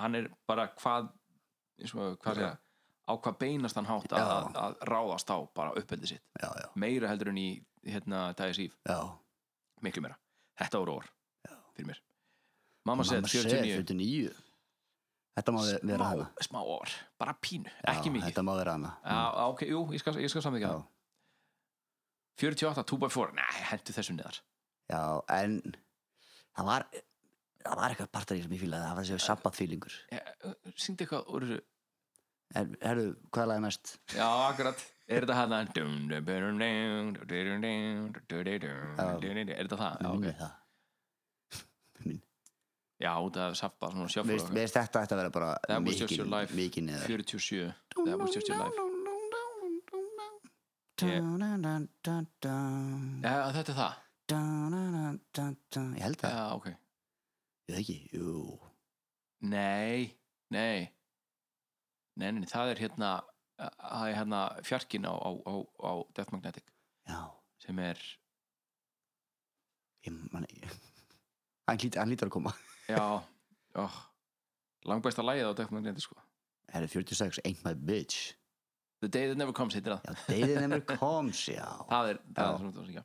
hann er bara hvað eins og hvað segja á hvað beinast hann hátt að, að, að ráðast á bara uppeldi sitt,
já, já,
meira heldur en í hérna dagis íf,
já.
miklu meira þetta voru orð fyrir mér Mamma
Mamma
segir
Sef,
49
49 þetta má ve- vera hana
smá, smá orð, bara pínu,
Já,
ekki mikið
Þetta má vera hana Mm.
Já, á, ok, jú, ég skal, ég skal samþykja
Já.
það 48, 2x4, nei, hendur þessum neðar
Já, en það var það var eitthvað partar í sem ég fílaði það var þessi sabbatfílingur
syngdi Eh, eitthvað úr þessu
en herru, hvað er lagði næst?
já, akkurat, er þetta hérna? hann er þetta það, já,
Mér
ok
minnir það.
já, út af sappa, svona
Mér finnst-
sjáfóra
mér finnst þetta ætti að vera bara
That was just
mikið
your life.
mikið neðar
47, that was just your life Ég- Já, þetta er það,
Ég held
já,
það
ok
Ég Ég það ekki, jú
Nei, nei Nei, nei, það er hérna það er hérna fjarkin á, á, á, á Death Magnetic
Já,
sem er,
ég man *laughs* ekki Hann hlýtur, hann hlýtur að koma
já, já langbæsta lagið á Death Magnetic sko
Það er 46, ain't my bitch
The Day That Never Comes heitir það
Já, David Never Comes, já
það er, það
Já.
er svona það líka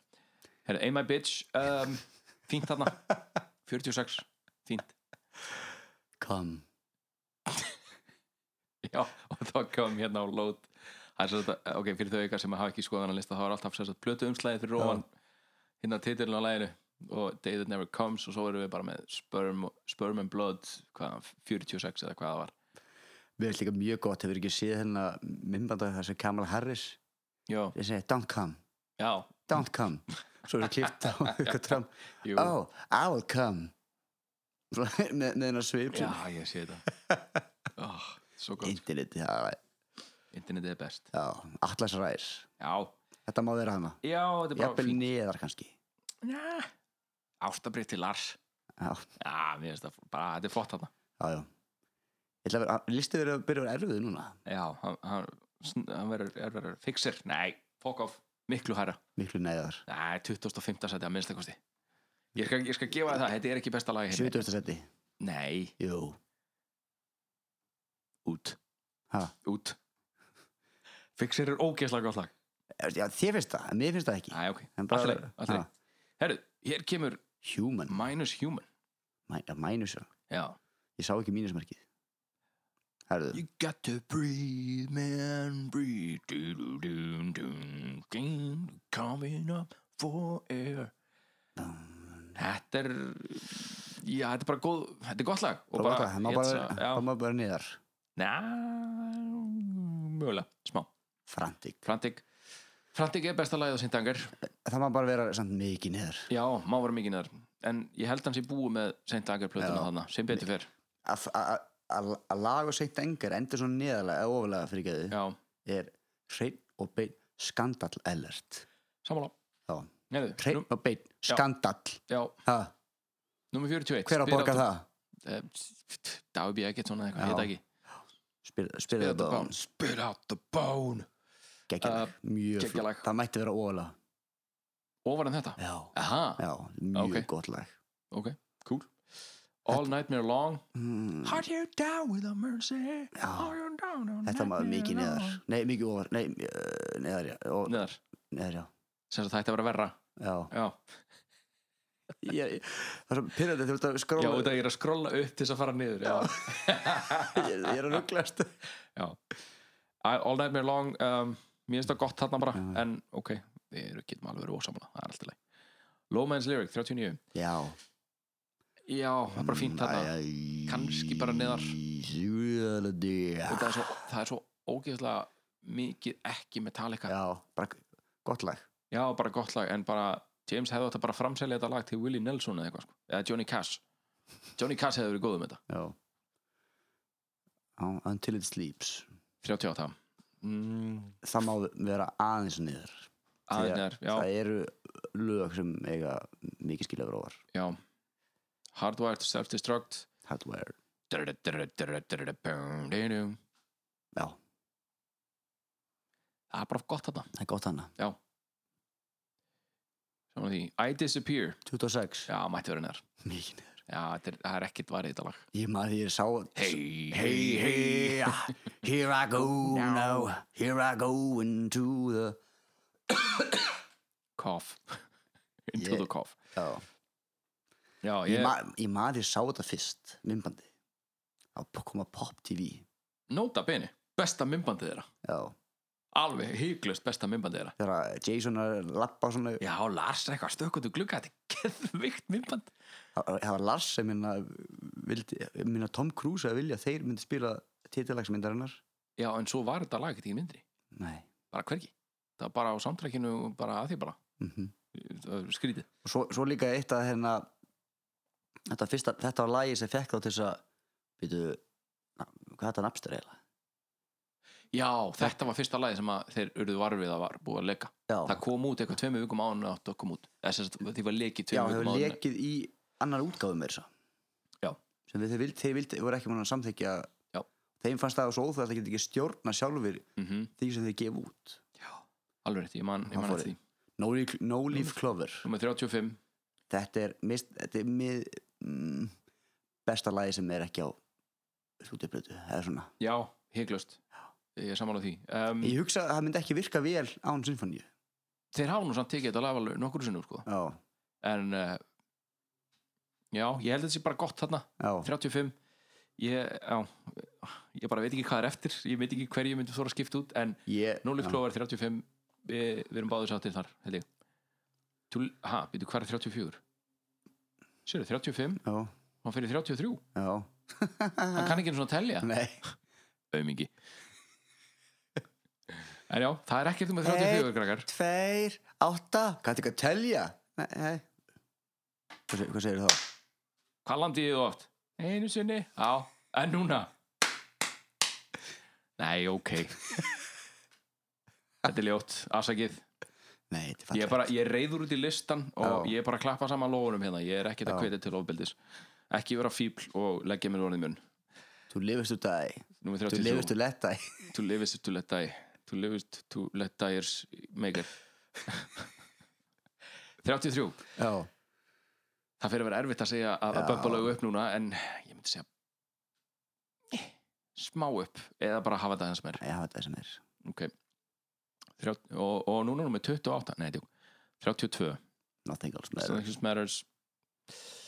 Herra, Ain't My Bitch um, fínt
*laughs*
þarna, 46 fínt,
Come
já, og þá kom hérna á lót Hann sagði þetta, ok, fyrir þau ykkar sem hafa ekki skoðan að lista þá er alltaf sér að plötu umslæði fyrir róan hérna titilin á læginu og Day That Never Comes og svo erum við bara með Sperm, sperm and Blood hvað, 46 eða hvað það var
Mér finnst líka mjög gott, hefur ekki séð hennar myndbanda þar sem Kamala Harris
já,
Ég segi, don't come,
já,
don't come Svo er klift á *laughs* ykkur tram
jú
Oh, I will come Svona með með hennar svip
já,
sem-
ég sé þetta
*laughs*
oh, svo gott,
Internet, já,
internetið er best
já Atlas Ræs
já,
Þetta má vera hana
já, þetta er bara
Jafnvel
fínt
neðar kannski
Njá. ástabrið til Lars
Já,
Já, mér finnst það bara, þetta er flott þarna
já, já Ég ætla að vera, listið verið að byrja að vera erfið núna
Já, hann, hann, sn- hann verður er verður fixer, nei, fokk off miklu hærra,
Miklu neðar
nei, 2015 sæti að minnstakosti ég skal, ég skal gefa þér það, þetta er ekki besta lagi heimi.
70. seti,
Nei,
jú
út,
ha.
út Fixer er ógeðslega gott lag
Já, þér finnst það, en mér finnst það ekki
Nei, ok,
En bara-
allir leið, allir
Ha.
leið Herru, hér kemur
Human,
Minus Human
Mæ, já, mínus já.
Já
Ég sá ekki mínusmerkið Herðu,
You got to breathe, man, breathe do, do, do, do, do, Coming up for air Þetta er Já, þetta er bara góð Þetta er gott lag og
bara gott, það má
ég
bara,
ætla-
það
já,
má bara neðar
Næ, mögulega, smá
Frantik
Frantik Frantik er besta lagið á Sintangar
Það má bara vera samt mikið neðar
Já, má vera mikið neðar En ég held hans í búi með Sintangar plötuna
Já.
þarna sem betur fer
Að- að- Að að laga seint engar endur svona neðarlega eða ofalega fyrir geðu
Já,
er hreinn og beinn skandall alert
samanlá
Já.
Nú,
hreinn og beinn skandall
já,
ha,
nummer 41
hver á að borga það?
Dagbí ekkert svona eitthvað,
Já.
heita ekki
spyrðu það bán
Spit out the bone Uh,
geggjalag, mjög
geggjalag.
flott það mætti vera óvala
Ofar en þetta?
já,
Aha,
já, mjög
Ok.
gott lag
ok, cool All Nightmare Long
mm,
Are you down with a mercy?
Já.
Are you down on
þetta maður
nightmare
mikið neðar
long?
nei, mikið óvar, nei, eh, neðar já, ó,
Neðar,
neðar já,
sem sagt það ætti að vera verra
já
Já,
ég, ég, það er svo pyrrandi, þú ert að
já
skróla
þetta ég er að skrolla upp til þess að fara niður Já,
*laughs* ég, ég er að rugglast
já. I- All Nightmare Long um, Mér finnst það gott þarna bara
Já.
En ok, við erum getum alveg verið ósamlega Það er alltaf leið Low Man's Lyric, 39
já, Mm,
Já, það er bara fínt þarna Kannski bara neðar
neðar
Og það er svo, það er svo ógeðslega mikið ekki Metallica
Já, bara gott lag
Já, bara gott lag, en bara James hefði átt að bara framselja þetta lag til Willie Nelson eða eitthvað sko, eða Johnny Cash Johnny Cash hefði verið góð um þetta,
Já Já, Until It Sleeps
38 mm,
Það má vera aðeins niður Því að
aðeinsneðar, já,
Það eru lög sem eiga mikið skilja verið ofar
já Hardwired to Self-Destruct
Hardware
Það
Já,
er bara gott þarna
það er gott hana
Saman því, I Disappear
26
Já, mætti verið neðar
Mikið niður
Já, þetta er, það er ekkert varðið þetta lag
Ég maður því ég sá
Hey,
Hey, hey, ah, here I go now Here I go into the
Cough Into
Ég-
the cough
Já
Já,
Ég
ég,
ma- Ég maður því ég sá þetta fyrst Mimbandi Á koma Pop TV
nota beni Besta mymbandið þeirra
Já
Alveg hygglust besta mymbandið þeirra
Þegar Jason er að lappa svona
Já, Lars er eitthvað stökkundu glugga Þetta er geðvikt mymband
það það var Lars sem minna, vildi, minna Tom Cruise að vilja að þeir myndi spila titillagsmyndarinnar
Já, en svo var þetta lag ekkert í myndri
nei
Bara hvergi Það var bara á samtrækinu Bara að því bara
mm
Það var Skrítið
og svo, svo líka eitt að hérna þetta, fyrsta, þetta var lagi sem fekk þá til þess að býtu, hvað er þetta napstur eiginlega
Já, þetta var fyrsta lagi sem að þeir urðu varfið að var búið að leka
já,
Það kom út eitthvað tveimur vikum án og átt að koma út Þess að því var lekið
já
tveimur
það
vikum
var
án
lekið í annar útgáfum er þess að
Já,
sem þeir, þeir, vildi, þeir vildi, voru ekki múin að samþykja
Já.
þeim fannst það svo óþægt að þeir geta ekki stjórna sjálfur
mm
því sem þeir gefa út
alveg rétt, ég man, ég
Hann
man
fór
eftir því
No Leaf, no leaf Clover
Númer 35,
þetta er, mist, þetta er mið, mm, besta lagi sem er ekki á stúdíublötu eða svona
já, heiklust Ég er sammála því um,
ég hugsa að það myndi ekki virka vel án sinfoníu
Þeir hafa nú samt tekið þetta lag alveg nokkur sinnur sko.
já,
En uh, Já, ég held að þetta sé bara gott þarna
já,
35 Ég, já, ég bara veit ekki hvað er eftir Ég veit ekki hverju ég myndi þóra að skipta út En
ég
Núlið
já.
Klóver 35 Við, við erum báðir sáttir þar, held ég Tjúl, Ha, býtu hvað er 34? Sérðu, 35
já,
Hann fyrir 33,
já,
hann kann ekki einu svona telja
nei
auðmingi En já, það er ekkert um að 34
Eh.
krakkar
tveir, átta, kanntu ekki að telja nei, nei hvað, seg- hvað segir þá?
Hvað landið þið oft? Einu sinni, já, en núna Nei, ok Þetta er ljótt, afsakið
nei, þetta
Ég
er
er bara, ég er reyður út í listan og
Já.
ég er bara að klappa saman lóðunum hérna Ég er ekkert að
Já.
hvetja til ofbeldis Ekki vera fíbl og leggja mér orðið mun
fallegt. þú lifist úr dag,
Númer
þú
33
lifist úr letta
to live is to let die to live is to let die's maker 33
já,
það fyrir að vera erfitt að segja að, að
Já.
bömbalögu upp núna en ég myndi segja eh, smá upp eða bara hafa þetta hans mér
ég hafa þetta sem er
okay. Þrjá, og, og núna nummer 28 nei, djú, 32
nothing else matters
Matters. Matters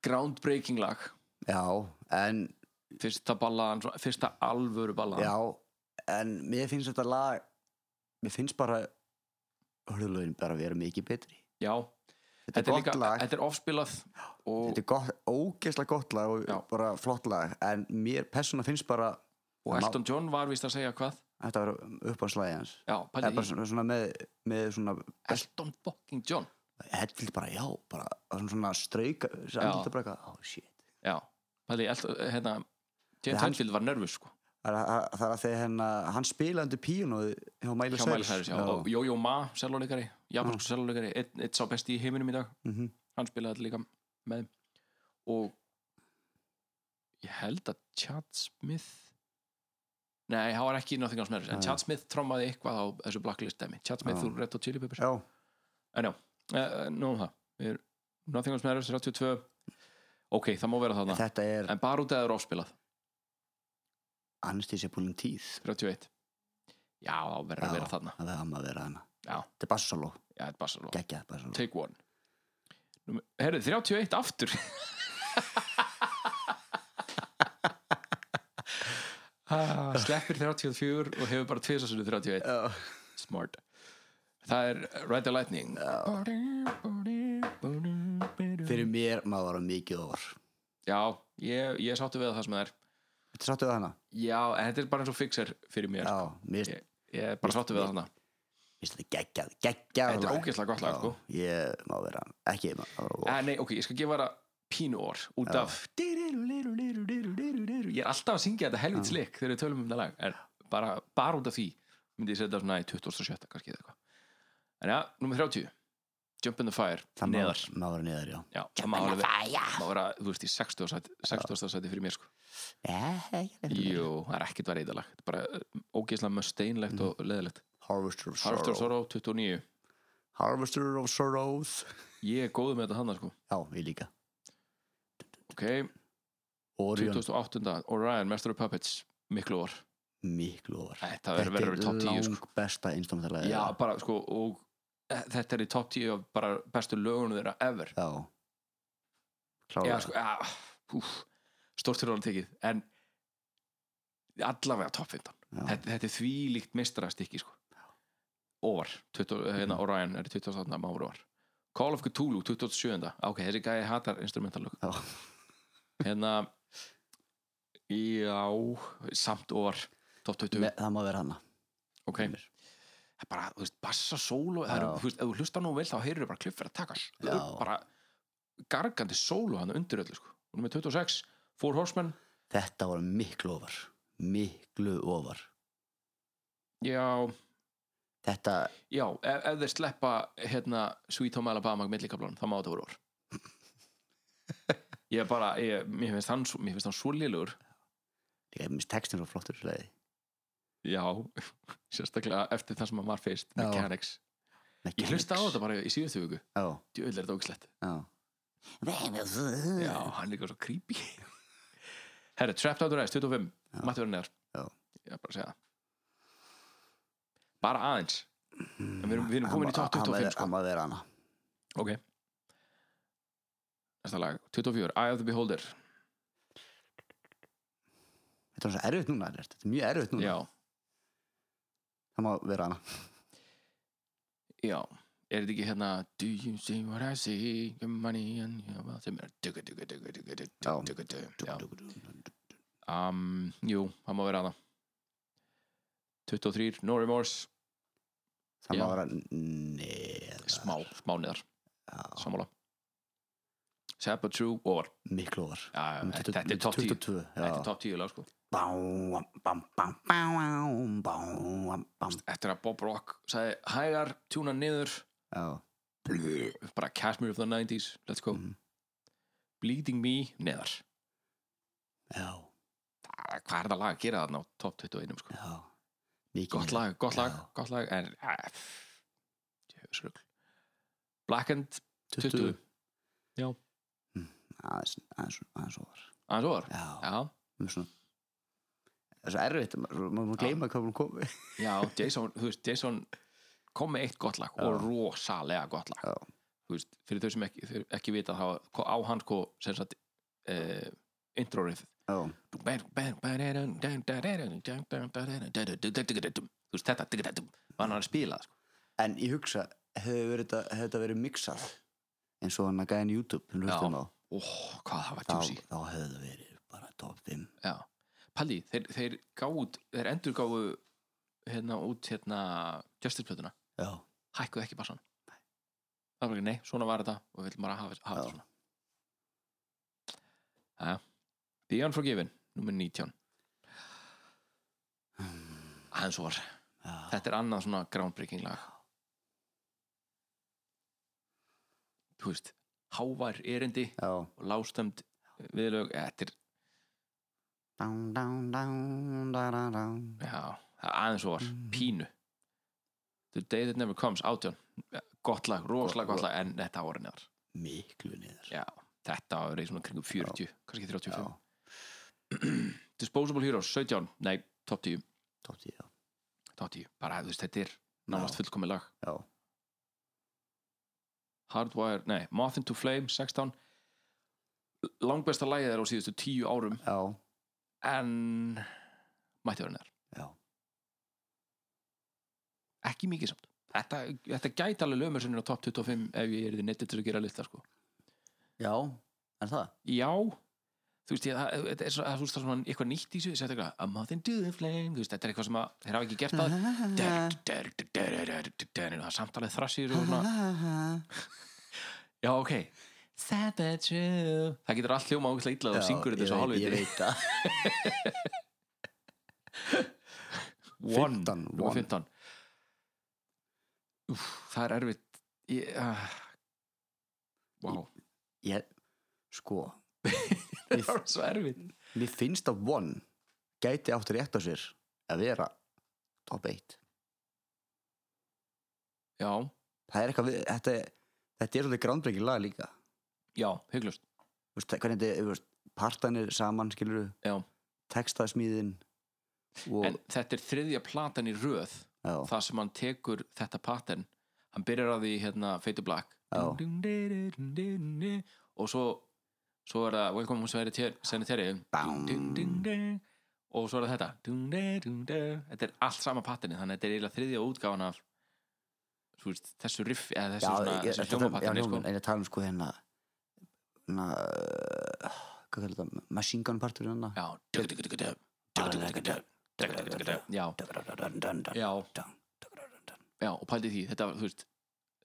groundbreaking lag
já, en
fyrsta ballaðan, svona- fyrsta alvöru ballaðan
Já, en mér finnst þetta lag Mér finnst bara Hörðulögin bara vera mikið betri
já,
Þetta,
þetta er,
er gott
líka,
lag
þetta er ofspilað og,
Þetta er gott, ógeðslega gott lag og
Já.
bara flott lag En mér persóna finnst bara
og Elton John var vist að segja hvað
Þetta var upp á slæði hans
Já,
Það er
pælið
bara
í
svona, svona með, með svona
Elton fucking John
Hellir bara já bara, Svona, svona strauka Andlita bara eitthvað, oh shit
Já, pælið í Elton, hérna James
Hann-
Hetfield var nervus sko
Það er að- það er að þegar henn hann spilaði undir píónuð hjá Miley
Hjá Miley Cyrus, já, og
já. Mm.
Jojo Ma, sellóleikari Japansku sellóleikari, einn einn sá besti í heiminum í dag
Mhm.
Hann spilaði þetta líka með þeim. og ég held að Chad Smith Nei, hann var ekki í Nothing Else Matters en
Nei.
Chad Smith trommaði eitthvað á þessu blacklist dæmi Chad Smith
Já.
úr Red Hot Chili Peppers
já,
En já, eh, nú um það Við erum- Nothing Else Matters, 32 Ok, það má vera þarna
þetta er
En bara út að það eru ofspilað
Anesthesia Pulling Teeth
31 Já, það verður að vera þarna
Það verður að vera þarna
Já.
Þetta er bassaló
Já, þetta er bara svo
geggjað bara svona
Take one Númer- Herðu, 31 aftur ah, Sleppir 34 og hefur bara tvisasunni 31
Já.
Smart Það er Ride the Lightning
fyrir mér maður var það mikið over
Já, ég, ég sáttu við að það sem það er
þetta sáttu við hana
Já, en þetta er bara eins og fixer fyrir mér
já, mér
Ég, ég er bara sáttu við það þarna
finnst þetta geggjað geggjað
Þetta er
lag.
ógeðslega gott lag,
Já,
sko.
ég má vera ekki maður var það
Ah,
over
nei, ok, ég skal gefa það pínu orð út
Já.
af ég er alltaf að syngja þetta helvits leik þegar við tölum um þetta lag en bara, bara út af því myndi ég setja það svona í 2007 kannski eða eitthvað en já, nummer 30 Jump in the Fire,
það má-
neðar
má vera neðar, já
já, það má alveg má vera, þú veist, í 60 sæti, 60 sæti fyrir mér sko
Eh, ég er
jú, það er ekkert verið í þetta lag þetta er bara eh, ógeðslega musteinlegt
Mm.
og leðilegt
Harvester of
Harftur
Sorrow
Sorrow 29
Harvester of Sorrows
ég er góð með þetta hann sko
já, ég líka
ok,
Orion,
2008 Orion, Master of Puppets miklu orð
miklu over
Þetta verður verður í topp 10 sko.
lang besta instrumentallega
Já, bara sko og eh, þetta er í topp 10 af bara bestu lögunum þeirra ever
já
Já,
klára
sko, ja, úf, stórt fyrir alveg tekið en allavega topp 15
já,
þetta, þetta er því líkt meistarastikki sko. Óvar, 20,
Mhm.
hérna Orion er í 28. máru var Call of Cthulhu, 27. Ah, Ok, þessi gæði hatar instrumentalög
Já.
Hérna Já, samt óvar Topp 20
Me- það má vera hana
ok það er bara, þú veist, bassa sólo það eru,
Já.
þú veist, ef þú hlustar nú vel þá heyrður bara kliffir að taka Það eru
Já.
bara gargandi sólo hann undir öllu sko og nummer 26, Four Horsemen
þetta var miklu over miklu over
já,
þetta
já, ef, ef
*laughs*
þeir sleppa hérna Sweet Home Alabama millikablan, þá má þetta voru orð ég bara, ég, mér finnst hann svo- mér finnst hann svo lélugur
Líka, ég minnst textin svo flottur leiði.
já, *laughs* sérstaklega eftir það sem hann var fyrst
Já.
Mechanics, ég hlusta á þetta bara í síðustu viku
Já,
djöðlega er þetta ógislegt
já.
já, hann er líka svo creepy herri, Trapped Out of Ice 25 mætti vera neðar
Já.
ég er bara að segja það. bara aðeins en við erum, við erum
Mhm. Hann
komin í
má-
top
hann má
25
vera-
sko.
Hann maður vera hana.
ok næsta lag, 24, Eye of the Beholder
Þetta er svo erfitt núna, Ellert. þetta er mjög erfitt núna.
já,
Það má vera hana.
já er þetta ekki hérna Do you see what I see, your money and your wealth sem er dugga, dugga, dugga, dugga, dugga,
Já.
dugga, dugga, já. Um, jú, það má vera aða 23, No Remorse
Það má
Já.
vera neðar.
smá, smá niðar,
Já,
sammála Sad but True, over
miklu ofar.
já,
Um,
þetta
22,
þetta er top 10
22, já.
þetta er top 10 lag sko
Bám, bám, bám, bám, bám, bám.
eftir að Bob Rock sagði hægar, tjúna niður
Já,
bara Kashmir of the 90s, let's go
Mhm.
Bleeding Me, neðar
já,
Æ, hvað er það lag að gera þarna á top 21 sko?
já. Mikið
gott
meira.
lag, gott lag,
Já.
gott lag en djöfisrugl Black and 20
20. Aðeins, aðeins, aðeins ofar.
aðeins ofar
Já,
já,
um svona. Það er svo erfitt, maður maður má gleyma hvað hún komið. *laughs*
já, Jason, þú veist, Jason kom með eitt gott lag
Já.
og rosalega gott lag
Já.
þú veist, fyrir þau sem ekki, þau ekki vita þá á hann sko sem sagt uh, introrið
Já,
þú veist þetta var hann að spila sko.
en ég hugsa, hefur verið þetta, hefur þetta verið mixað eins og hann að gæðin YouTube, hann
Já.
hlustum á.
Ó, hvað það var
Þá,
tjúsi
þá hefur það verið bara top 5.
Já, Palli, þeir, þeir gáðu þeir endur gáðu hérna út hérna Justice-plötuna,
Já,
hækkuðu ekki bassan Það var ekki, nei, svona var þetta og við viljum bara hafa, hafa
Já.
þetta svona Jæja, The Unforgiven, nummer 19 Aðeins var
já.
Þetta er annað svona groundbreaking lag Þú veist, hávær erindi
Já.
og lástönd viðlög, eh, þetta er
Dán, dán, dán, dán, dán, dán.
Já, það er aðeins og var, pínu The Day That Never Comes, átján gott lag, rosalega gott lag en þetta voru neðar
Miklu niður.
Já, þetta var verið svona kringum 40 kannski 35
Já.
Disposable Heroes, 17, nei, top 10
Top 10, já.
top 10, bara þú veist, þetta er nánast fullkomið lag
Já.
Hardwire, nei, Moth into Flame, 16 langbesta lagið er á síðustu 10 árum
Já,
en mætti vera neðar
já.
ekki mikið samt Þetta, þetta gæti alveg lögumur sinni á top 25 ef ég er því netið til að gera lista sko.
Já, er það?
já þú veist, ég, það, þetta er svo- það er svo- svona eitthvað nýtt í þessu, þetta er eitthvað a moth into the flame, þú veist, þetta er eitthvað sem að þeir hafa ekki gert það Der, der, der, der, der, der, der, der, það er samtalið þrassir og svona, já ok Savage you. það getur allt hljóma ákveðslega illa og
Já,
syngur
ég
þetta svo
veit- Ég
hálfviti
veit það.
One,
15,
númer
one.
15 Úf, það er erfitt ég, uh, wow
Ég,
*laughs*
sko,
það var svo erfitt
mér finnst að One gæti átt rétt á sér að vera top 1.
já,
Það er eitthvað, við, þetta, er- þetta er svolítið groundbreaking lag líka.
já, huglust
Þú veist, hvernig þetta, er, þú veist, partanir saman, skilur
Já.
textasmíðin og,
En þetta er þriðja platan í röð
já,
Það sem hann tekur þetta pattern Hann byrjar á því hérna Fade to Black
Já.
Og svo Svo er það Welcome Home Sanitary
Bám.
Og svo er það þetta Þetta er allt sama patterni Þannig að þetta er eiginlega þriðja útgáfan af þú veist, þessu riff eða þessu,
já,
svona,
ég,
þessu
þetta- já,
hljómapatterni sko.
hljómar- en ég tala um sko hérna, hérna, uh, hvað kallar þetta, machine gun partur hérna.
Já Já Já Já og pældi því Þetta var þú veist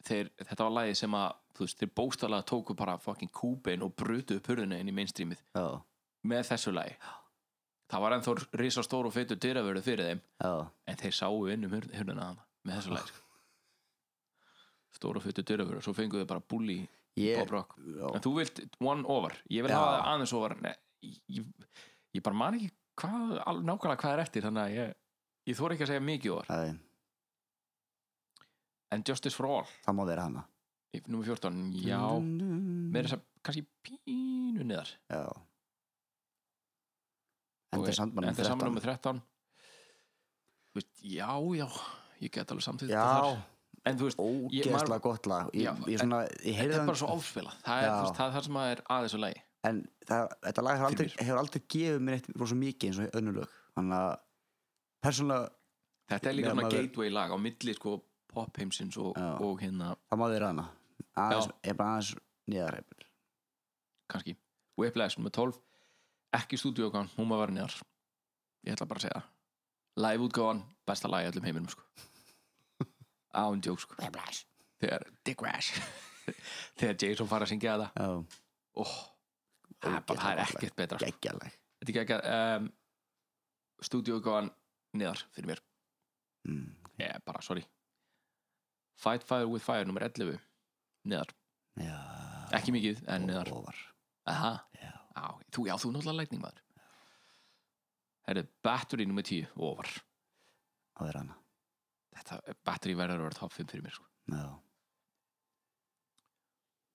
þeir, Þetta var lagið sem að þú veist, Þeir bóstalega tóku bara fucking kúbein og brutu upp hurðina inn í mainstreamið
Já,
með þessu lagi Það var ennþá risa stór og feitur dyravörðu fyrir þeim
já,
en þeir sáu inn um hurð- hurðina hana með þessu lagi sko. Stór og feitur dyravörðu svo fenguðu bara búli
Ég,
Bob Rock
já,
en þú vilt one over ég vil
Já.
hafa það aðeins over Nei, ég, ég bara man ekki hvað, al- nákvæmlega hvað er eftir þannig að ég, ég þóra ekki að segja mikið over
það, er-
en Justice for All,
það má vera hana
í- númer 14 já,
Mm.
með þess að kannski pínu niðar
Já Enda samt bara
en
með
það saman
13
númer 13 Þú veist, já, já ég get alveg samþýtt
Já,
en þú veist, Ég-
ógeðslega
maður-
gott lag Ég,
Já,
ég, svona, ég
þetta
heyrði
er
hann
bara svo áspilað það er
Já.
þú veist, það, er það sem er aðeins og lagi
En það, þetta lag hefur aldrei,
Fyrir
hefur aldrei gefið mér eitt rosa mikið eins og önnur lög Þannig að persónulega
þetta er líka
Meðan
svona
maður-
gateway lag á milli sko popheimsins og,
Já.
og hérna
það má vera hana aðeins, Ég bara aðeins nýðar
kannski Whiplash nummer 12 ekki stúdíókan, hún maður verið neðar ég ætla bara að segja það. live útgáðan, besta lagi í öllum
*laughs*
heiminum sko. án djók sko. Whiplash þegar Dick Rash *laughs* þegar Jason fara að syngja þetta
Já,
oh, það, er bara, það er ekkert betra sko.
geggjalag
þetta er ekki um, stúdíókan neðar fyrir mér
mm.
ég, bara, sorry Fight Fire with Fire nummer 11 neðar,
Já,
ekki mikið en neðar
ofar
Aha.
Já.
Á, þú, já, þú er náttúrulega lækning maður Herðu, battery nummer 10 over,
Má vera hana
þetta battery verður að vera top 5 fyrir mér, sko
Já,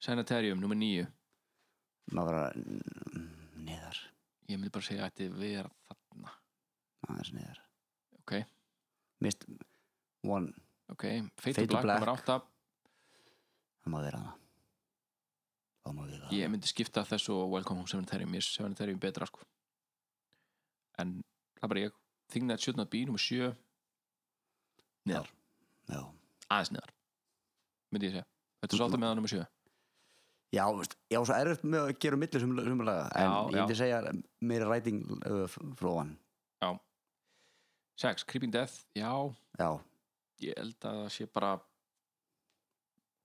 Sanitarium nummer 9,
má vera mm, nýðar
ég myndi bara segja að þetta vera þarna,
aðeins nýðar
ok
Mist, one,
ok, Fate,
Fade
Fate
to
Black,
Black.
nummer 8
það má vera hana Það má vera
ég myndi skipta þessu og Welcome Home Sanitarium ég er Sanitarium betra, sko en það er bara ég Thing That Should Not Be nummer 7 neðar,
Já
aðeins neðar myndi ég segja, þetta er svolítið með það nummer 7
Já, veist, ég á svo erfitt með að gera millir sem, sem laga, en
Já,
ég myndi segja meira ræting uh, fróan
6, Creeping Death, já
Já,
ég held að það sé bara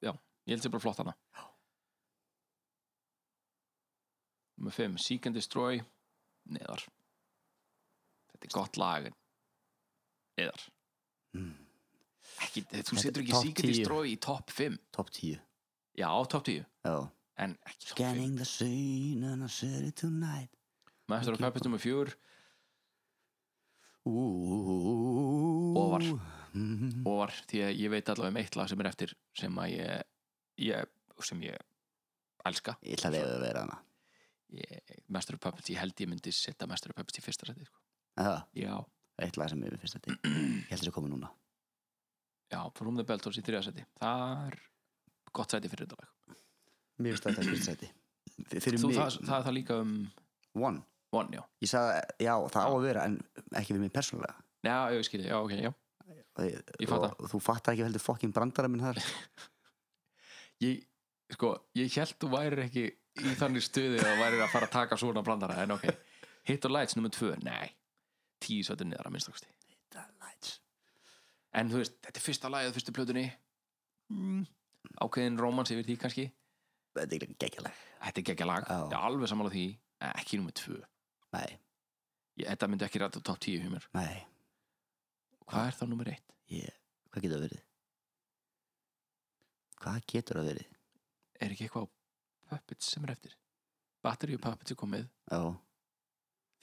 já, ég held að sé bara flott hana nummer 5 Seek and Destroy neðar þetta er gott lag en neðar
Mm.
ekki,
Þetta
þú
er
setur ekki
topp
Seek and
10.
Destroy í topp 5
top 10
já, topp 10,
Já
en ekki topp 5
Scanning the scene and I said it tonight
Master of Puppets nummer 4
Ooh. *laughs*
Ofar.
Mhm.
og var því að ég veit allavega um eitt lag sem er eftir sem að ég, ég sem ég elska
Ég ætla að leiða að vera hana
ég, Master of Puppets, ég held ég myndi setja Master of Puppets í fyrsta sæti sko.
Það,
já,
eitt lag sem ég finnst þetta Ég held þess að koma núna
já, From the Beltors í þriða sæti það er gott sæti fyrir þetta lag
Mér finnst þetta fyrst sæti F- Fyrir
Þú,
mig,
það, það er það líka um
one
One, já,
Ég sagði, já, það á að vera en ekki fyrir mig persónulega
já, ég skilji, já, ok, já
Og ég-
Ég fatta.
og Þú fattar ekki heldur fokkin brandara minn
*laughs*
þar
ég, sko, ég held þú værir ekki í þannig stuði að þú værir að fara að taka svona blandara, en ok Hit or Lights nummer tvö, nei tíu sæti niður að minnstakosti en þú veist, þetta er fyrsta lagið á fyrstu plötunni mm, ákveðin romans yfir því kannski
Þetta er geggjalag
þetta er geggja lag,
Já.
ég er alveg sammála því en ekki nummer tvö
Nei,
ég, þetta myndi ekki ræta top 10 hjá mér
nei
hvað er þá nummer 1?
ég, hvað getur það verið hvað getur það verið
er ekki eitthvað á Puppets sem er eftir Battery og Puppets er komið
já,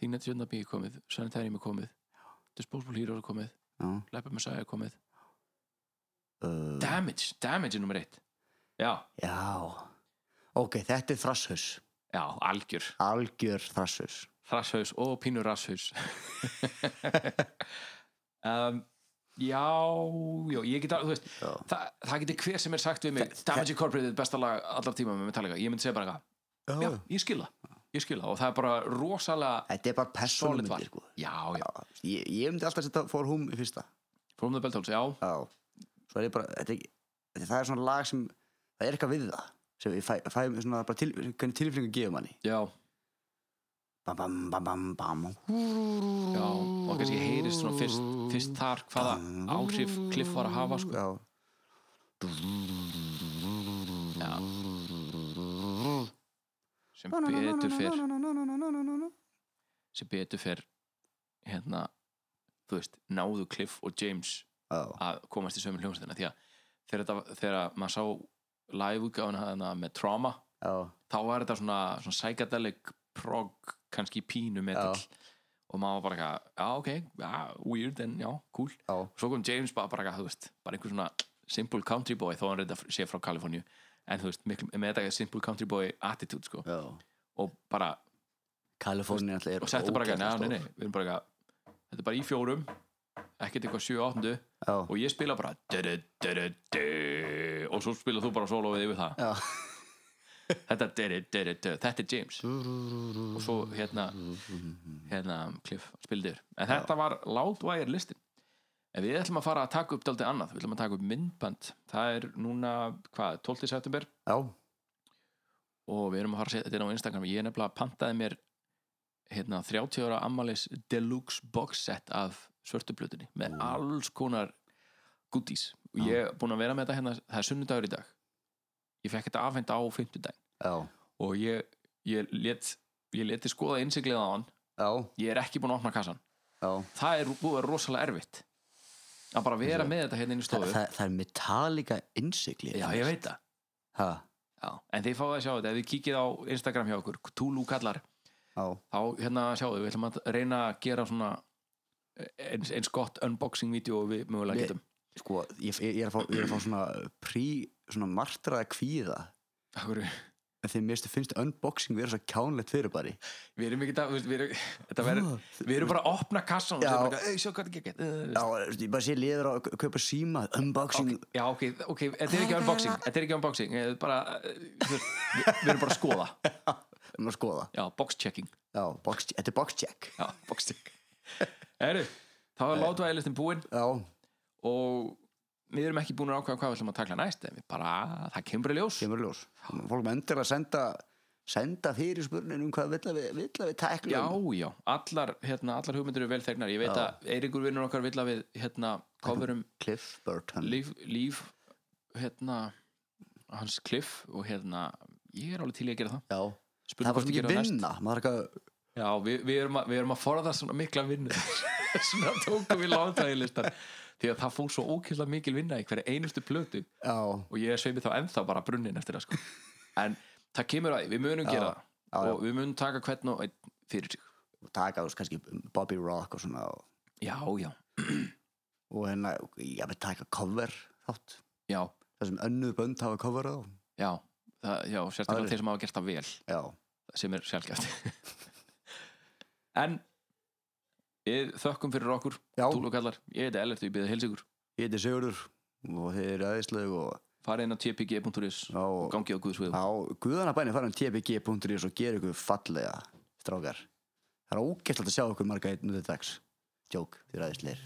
Þingnet Jöndabí er komið, Sanitarium er komið Disposable Heroes er komið,
já
Leopard Messiah er komið
uh,
Damage, Damage er nummer 1 já,
já ok, þetta er þrasshus
já, algjör
algjör þrasshus
Rasshaus og pínur rasshaus *laughs* um, já, já ég get að, þú veist
Já.
Þa, það getur hver sem er sagt við mig Damage Incorporated er besta lag allar tíma með Metallica ég myndi segja bara eitthvað, já, ég skil það ég skil það og það er bara rosalega
þetta er bara
solid
persónumyndir
val
sko.
já, já,
ég, ég myndi alltaf að setja for home í fyrsta
From the Beltals, já
já, svo er ég bara þetta, er ekki- þetta, það er svona lag sem það er eitthvað við það sem ég fæ, fæ svona bara til, hvernig tilfinningu gefur manni
já,
bam bam bam bam bam
já og kannski heyrist svona fyrst, fyrst þar hvaða áhrif Cliff var að hafa sko.
já,
já. sem betur fyrr sem betur fyrr hérna þú veist, náðu Cliff og James
já,
að komast í sömu hljómsveitina því að þegar, þetta, þegar maður sá live útgáfuna hana með Trauma
já,
þá var þetta svona, svona psychedelic prog, kannski pínu metal og maður var bara eitthvað, já ok já, weird en já, cool
já,
svo kom James bara, bara eitthvað, þú veist, bara einhver svona simple country boy, þó hann reynda sé frá Kaliforníu en þú veist, miklu, með þetta simple country boy attitude, sko,
já
og bara
Kaliforni alltaf er
og settu bara hérna,
ógeðslega stór.
eitthvað, neina, neina, við erum bara eitthvað þetta er bara í fjórum, ekkert eitthvað 7-8
Já.
og ég spila bara du, du, du, du, og svo spila þú bara soloið yfir það
Já.
þetta, du, du, du, du, þetta er James og svo hérna hérna Cliff spildir en þetta var Loudwire listin en við ætlum að fara að taka upp daldið annað við ætlum að taka upp myndband það er núna, hvað, 12. september
já,
og við erum að fara að setja þetta inn á Instagram ég nefnilega pantaði mér hérna, 30 ára ammalis deluxe box set af svörtublutinni með alls konar goodies og ég er búin að vera með þetta hérna það er sunnudagur í dag ég fekk þetta afhend á 50 dag
já,
og ég, ég let ég leti skoða innsiklið á hann
já,
ég er ekki búin að opna kassan
já
það er búið að vera rosalega erfitt að bara vera með þetta hérna inn í
Þa,
stofu
það, það er Metallica innsikli
já ég veit það
ha,
já. en þið fáið að sjá þetta ef þið kíkið á Instagram hjá okkur Tulu kallar
já,
þá hérna sjáðu við ætlum að reyna að gera svona eins, eins gott unboxing vídeo og við mögulega
Ég-
getum
sko, ég, ég, er að fá, ég er að fá svona prí, svona martraða kvíða
Akkur,
en þeim mér finnst unboxing vera svo kjánlegt fyrirbæri
við erum ekki það, við erum, þetta verður við erum bara að opna kassan og
Já.
segja bara, "Ey, sjá hvað þetta gekk
Já, ég bara sé liður á að kaupa síma unboxing,
já ok, ok, þetta er ekki unboxing þetta er ekki unboxing, eh, bara eh, þú veist, við, við erum bara að skoða
um að skoða
já, box checking
Já, box, þetta er box check
já, box check Heru, þá er látvæðilistin búinn
Já,
og við erum ekki búin að ákvæða hvað við ætlum að takla næst en við bara, það kemur í ljós
kemur í ljós Fólk með endur að senda senda fyrir um hvað vill að við, vill að við tækla um.
Já, já, allar, hérna, allar hugmyndir eru vel þegnar Ég veit
Já.
að Eiríkur vinnur okkar vill að við hérna, coverum
Cliff Burton
líf, líf hérna, hans Cliff og hérna, ég er alveg til í að gera það
Já, það
Spurning
var
hvort
svona ekki
ég geri það næst.
vinna Maður er ekki
Já, við, við, erum að, við erum að forða svona mikla vinnu *laughs* svona tókum við lántægilistar því að það fór svo ókýrslega mikil vinna í hverja einustu plötu
að Já,
og ég sveimi þá ennþá bara brunnin eftir það sko. en það kemur að því, við munum gera það
já, já.
og við munum taka hvern og einn fyrir sig
og taka þess kannski Bobby Rock og svona og,
Já, já,
og hérna, ég veit taka cover þátt
já
Það sem önnuð bönd hafa coverað á
Já, það, já sérstaklega
Aðrir.
þeir sem hafa gert það vel
Já,
sem er sjálfgæft *laughs* En við þökkum fyrir okkur
já,
Túlu kallar, ég heiti Ellert og ég byrði heilsigur
ég heiti Sigurður og þeir eru aðeinsleg og,
farið inn á tpg.is og
og
gangi á guðsviðu
á guðanabæni farin um tbg.is og gera ykkur fallega strákar það er ógæstlegt að sjá ykkur marga einn út í dags djók, þið ræðisleir